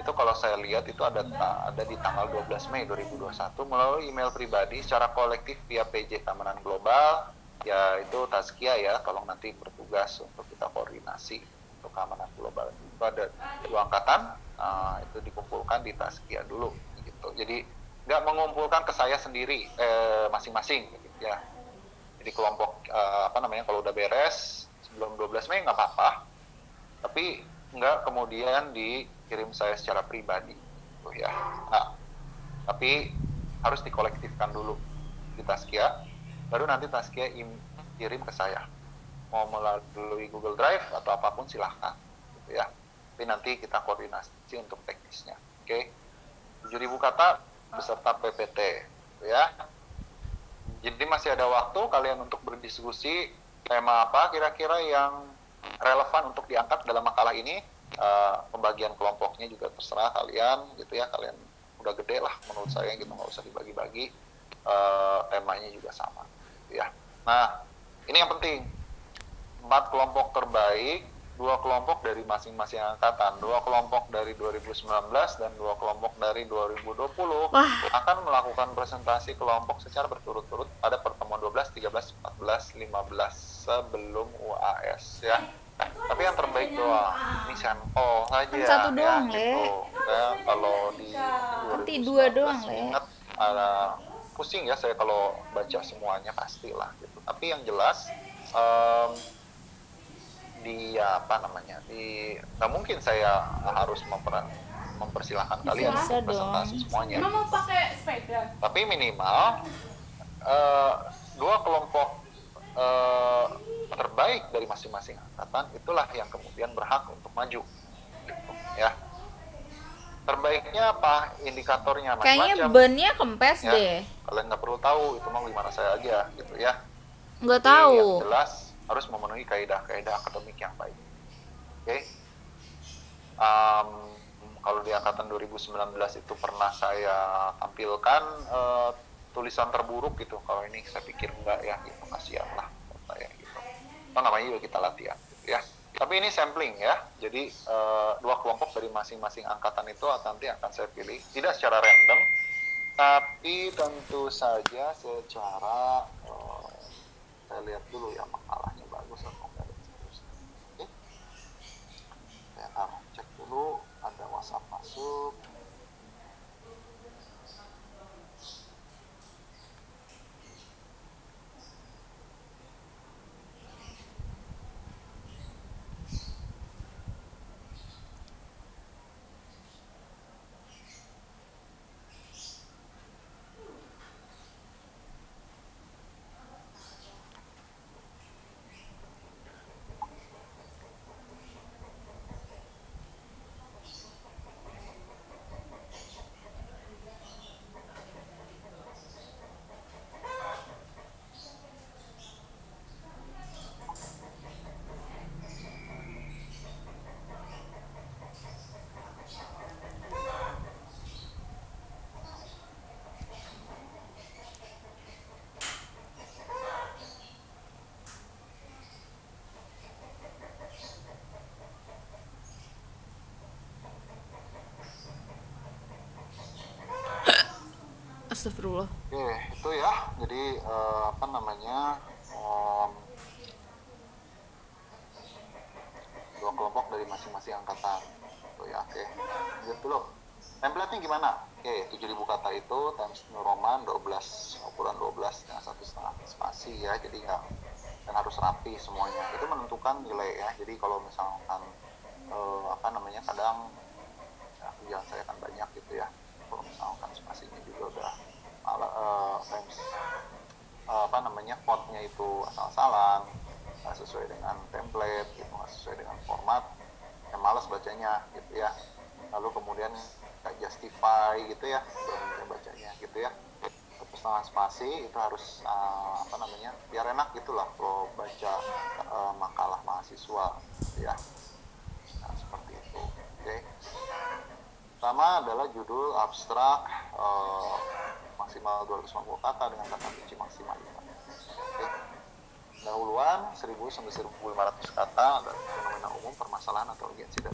A: itu kalau saya lihat itu ada ta- ada di tanggal 12 Mei 2021 melalui email pribadi secara kolektif via PJ Keamanan Global ya itu Tazkia ya tolong nanti bertugas untuk kita koordinasi untuk keamanan global itu ada dua angkatan ah, itu dikumpulkan di Tazkia dulu gitu jadi nggak mengumpulkan ke saya sendiri eh, masing-masing gitu ya jadi kelompok eh, apa namanya kalau udah beres sebelum 12 Mei nggak apa-apa tapi nggak kemudian dikirim saya secara pribadi gitu ya nah, tapi harus dikolektifkan dulu di Taskia baru nanti Taskia im- kirim ke saya mau melalui Google Drive atau apapun silahkan gitu ya tapi nanti kita koordinasi untuk teknisnya oke 7000 kata beserta PPT gitu ya jadi masih ada waktu kalian untuk berdiskusi tema apa kira-kira yang relevan untuk diangkat dalam makalah ini. Eh, pembagian kelompoknya juga terserah kalian gitu ya. Kalian udah gede lah menurut saya gitu nggak usah dibagi-bagi. Eh, temanya juga sama gitu ya. Nah, ini yang penting. Empat kelompok terbaik, dua kelompok dari masing-masing angkatan, dua kelompok dari 2019 dan dua kelompok dari 2020 akan melakukan presentasi kelompok secara berturut-turut pada pertemuan 12, 13, 14, 15 sebelum UAS ya. Tapi yang terbaik doang, ini sampel saja.
D: Kan satu doang,
A: ya, gitu. Ya, kalau di
D: Nanti dua
A: 2019,
D: doang, Le.
A: ingat, ada- pusing ya saya kalau baca semuanya pastilah gitu. Tapi yang jelas em, di apa namanya di nggak mungkin saya harus memperan mempersilahkan kalian
D: Bisa
A: untuk presentasi
D: dong.
A: semuanya
B: Emang mau pakai sepeda?
A: tapi minimal eh, dua kelompok eh, terbaik dari masing-masing angkatan itulah yang kemudian berhak untuk maju Gitu, ya terbaiknya apa indikatornya macam-macam.
D: Kayaknya bannya kempes
A: Ya.
D: deh.
A: kalian nggak perlu tahu itu mah gimana saya aja gitu ya
D: Nggak
A: Tapi
D: tahu.
A: yang Iya, jelas harus memenuhi kaidah-kaidah akademik yang baik oke Em, kalau di angkatan 2019 itu pernah saya tampilkan eh, tulisan terburuk gitu kalau ini saya pikir enggak ya gitu kasihan lah saya gitu Toh namanya juga kita latihan gitu ya tapi ini sampling ya jadi eh, dua kelompok dari masing-masing angkatan itu akan- nanti akan saya pilih tidak secara random tapi tentu saja secara eh, saya lihat dulu ya makalahnya bagus atau enggak dan seterusnya. Oke. Saya taruh cek dulu ada WhatsApp masuk.
D: Astagfirullah.
A: Oke, itu ya. Jadi eh, apa namanya? em, dua kelompok dari masing-masing angkatan. Itu ya, oke. Lihat dulu. Template-nya gimana? Oke, 7000 kata itu times New Roman 12 ukuran 12 dengan satu setengah spasi ya. Jadi nggak dan harus rapi semuanya. Itu menentukan nilai ya. Jadi kalau misalkan eh, apa namanya? kadang ya, yang saya akan banyak gitu ya kalau misalkan spasinya juga udah ala, eh, times eh, apa namanya fontnya itu asal-asalan nggak sesuai dengan template gitu nggak sesuai dengan format yang males bacanya gitu ya lalu kemudian nggak justify gitu ya saya bacanya gitu ya satu setengah spasi itu harus eh, apa namanya biar enak gitulah kalau baca eh, makalah mahasiswa gitu ya Nah, seperti itu oke Pertama adalah judul abstrak eh, maksimal 250 kata dengan kata kunci maksimal 5. Oke. Dahuluan 1000 sampai 1500 kata dan fenomena umum permasalahan atau urgensi dan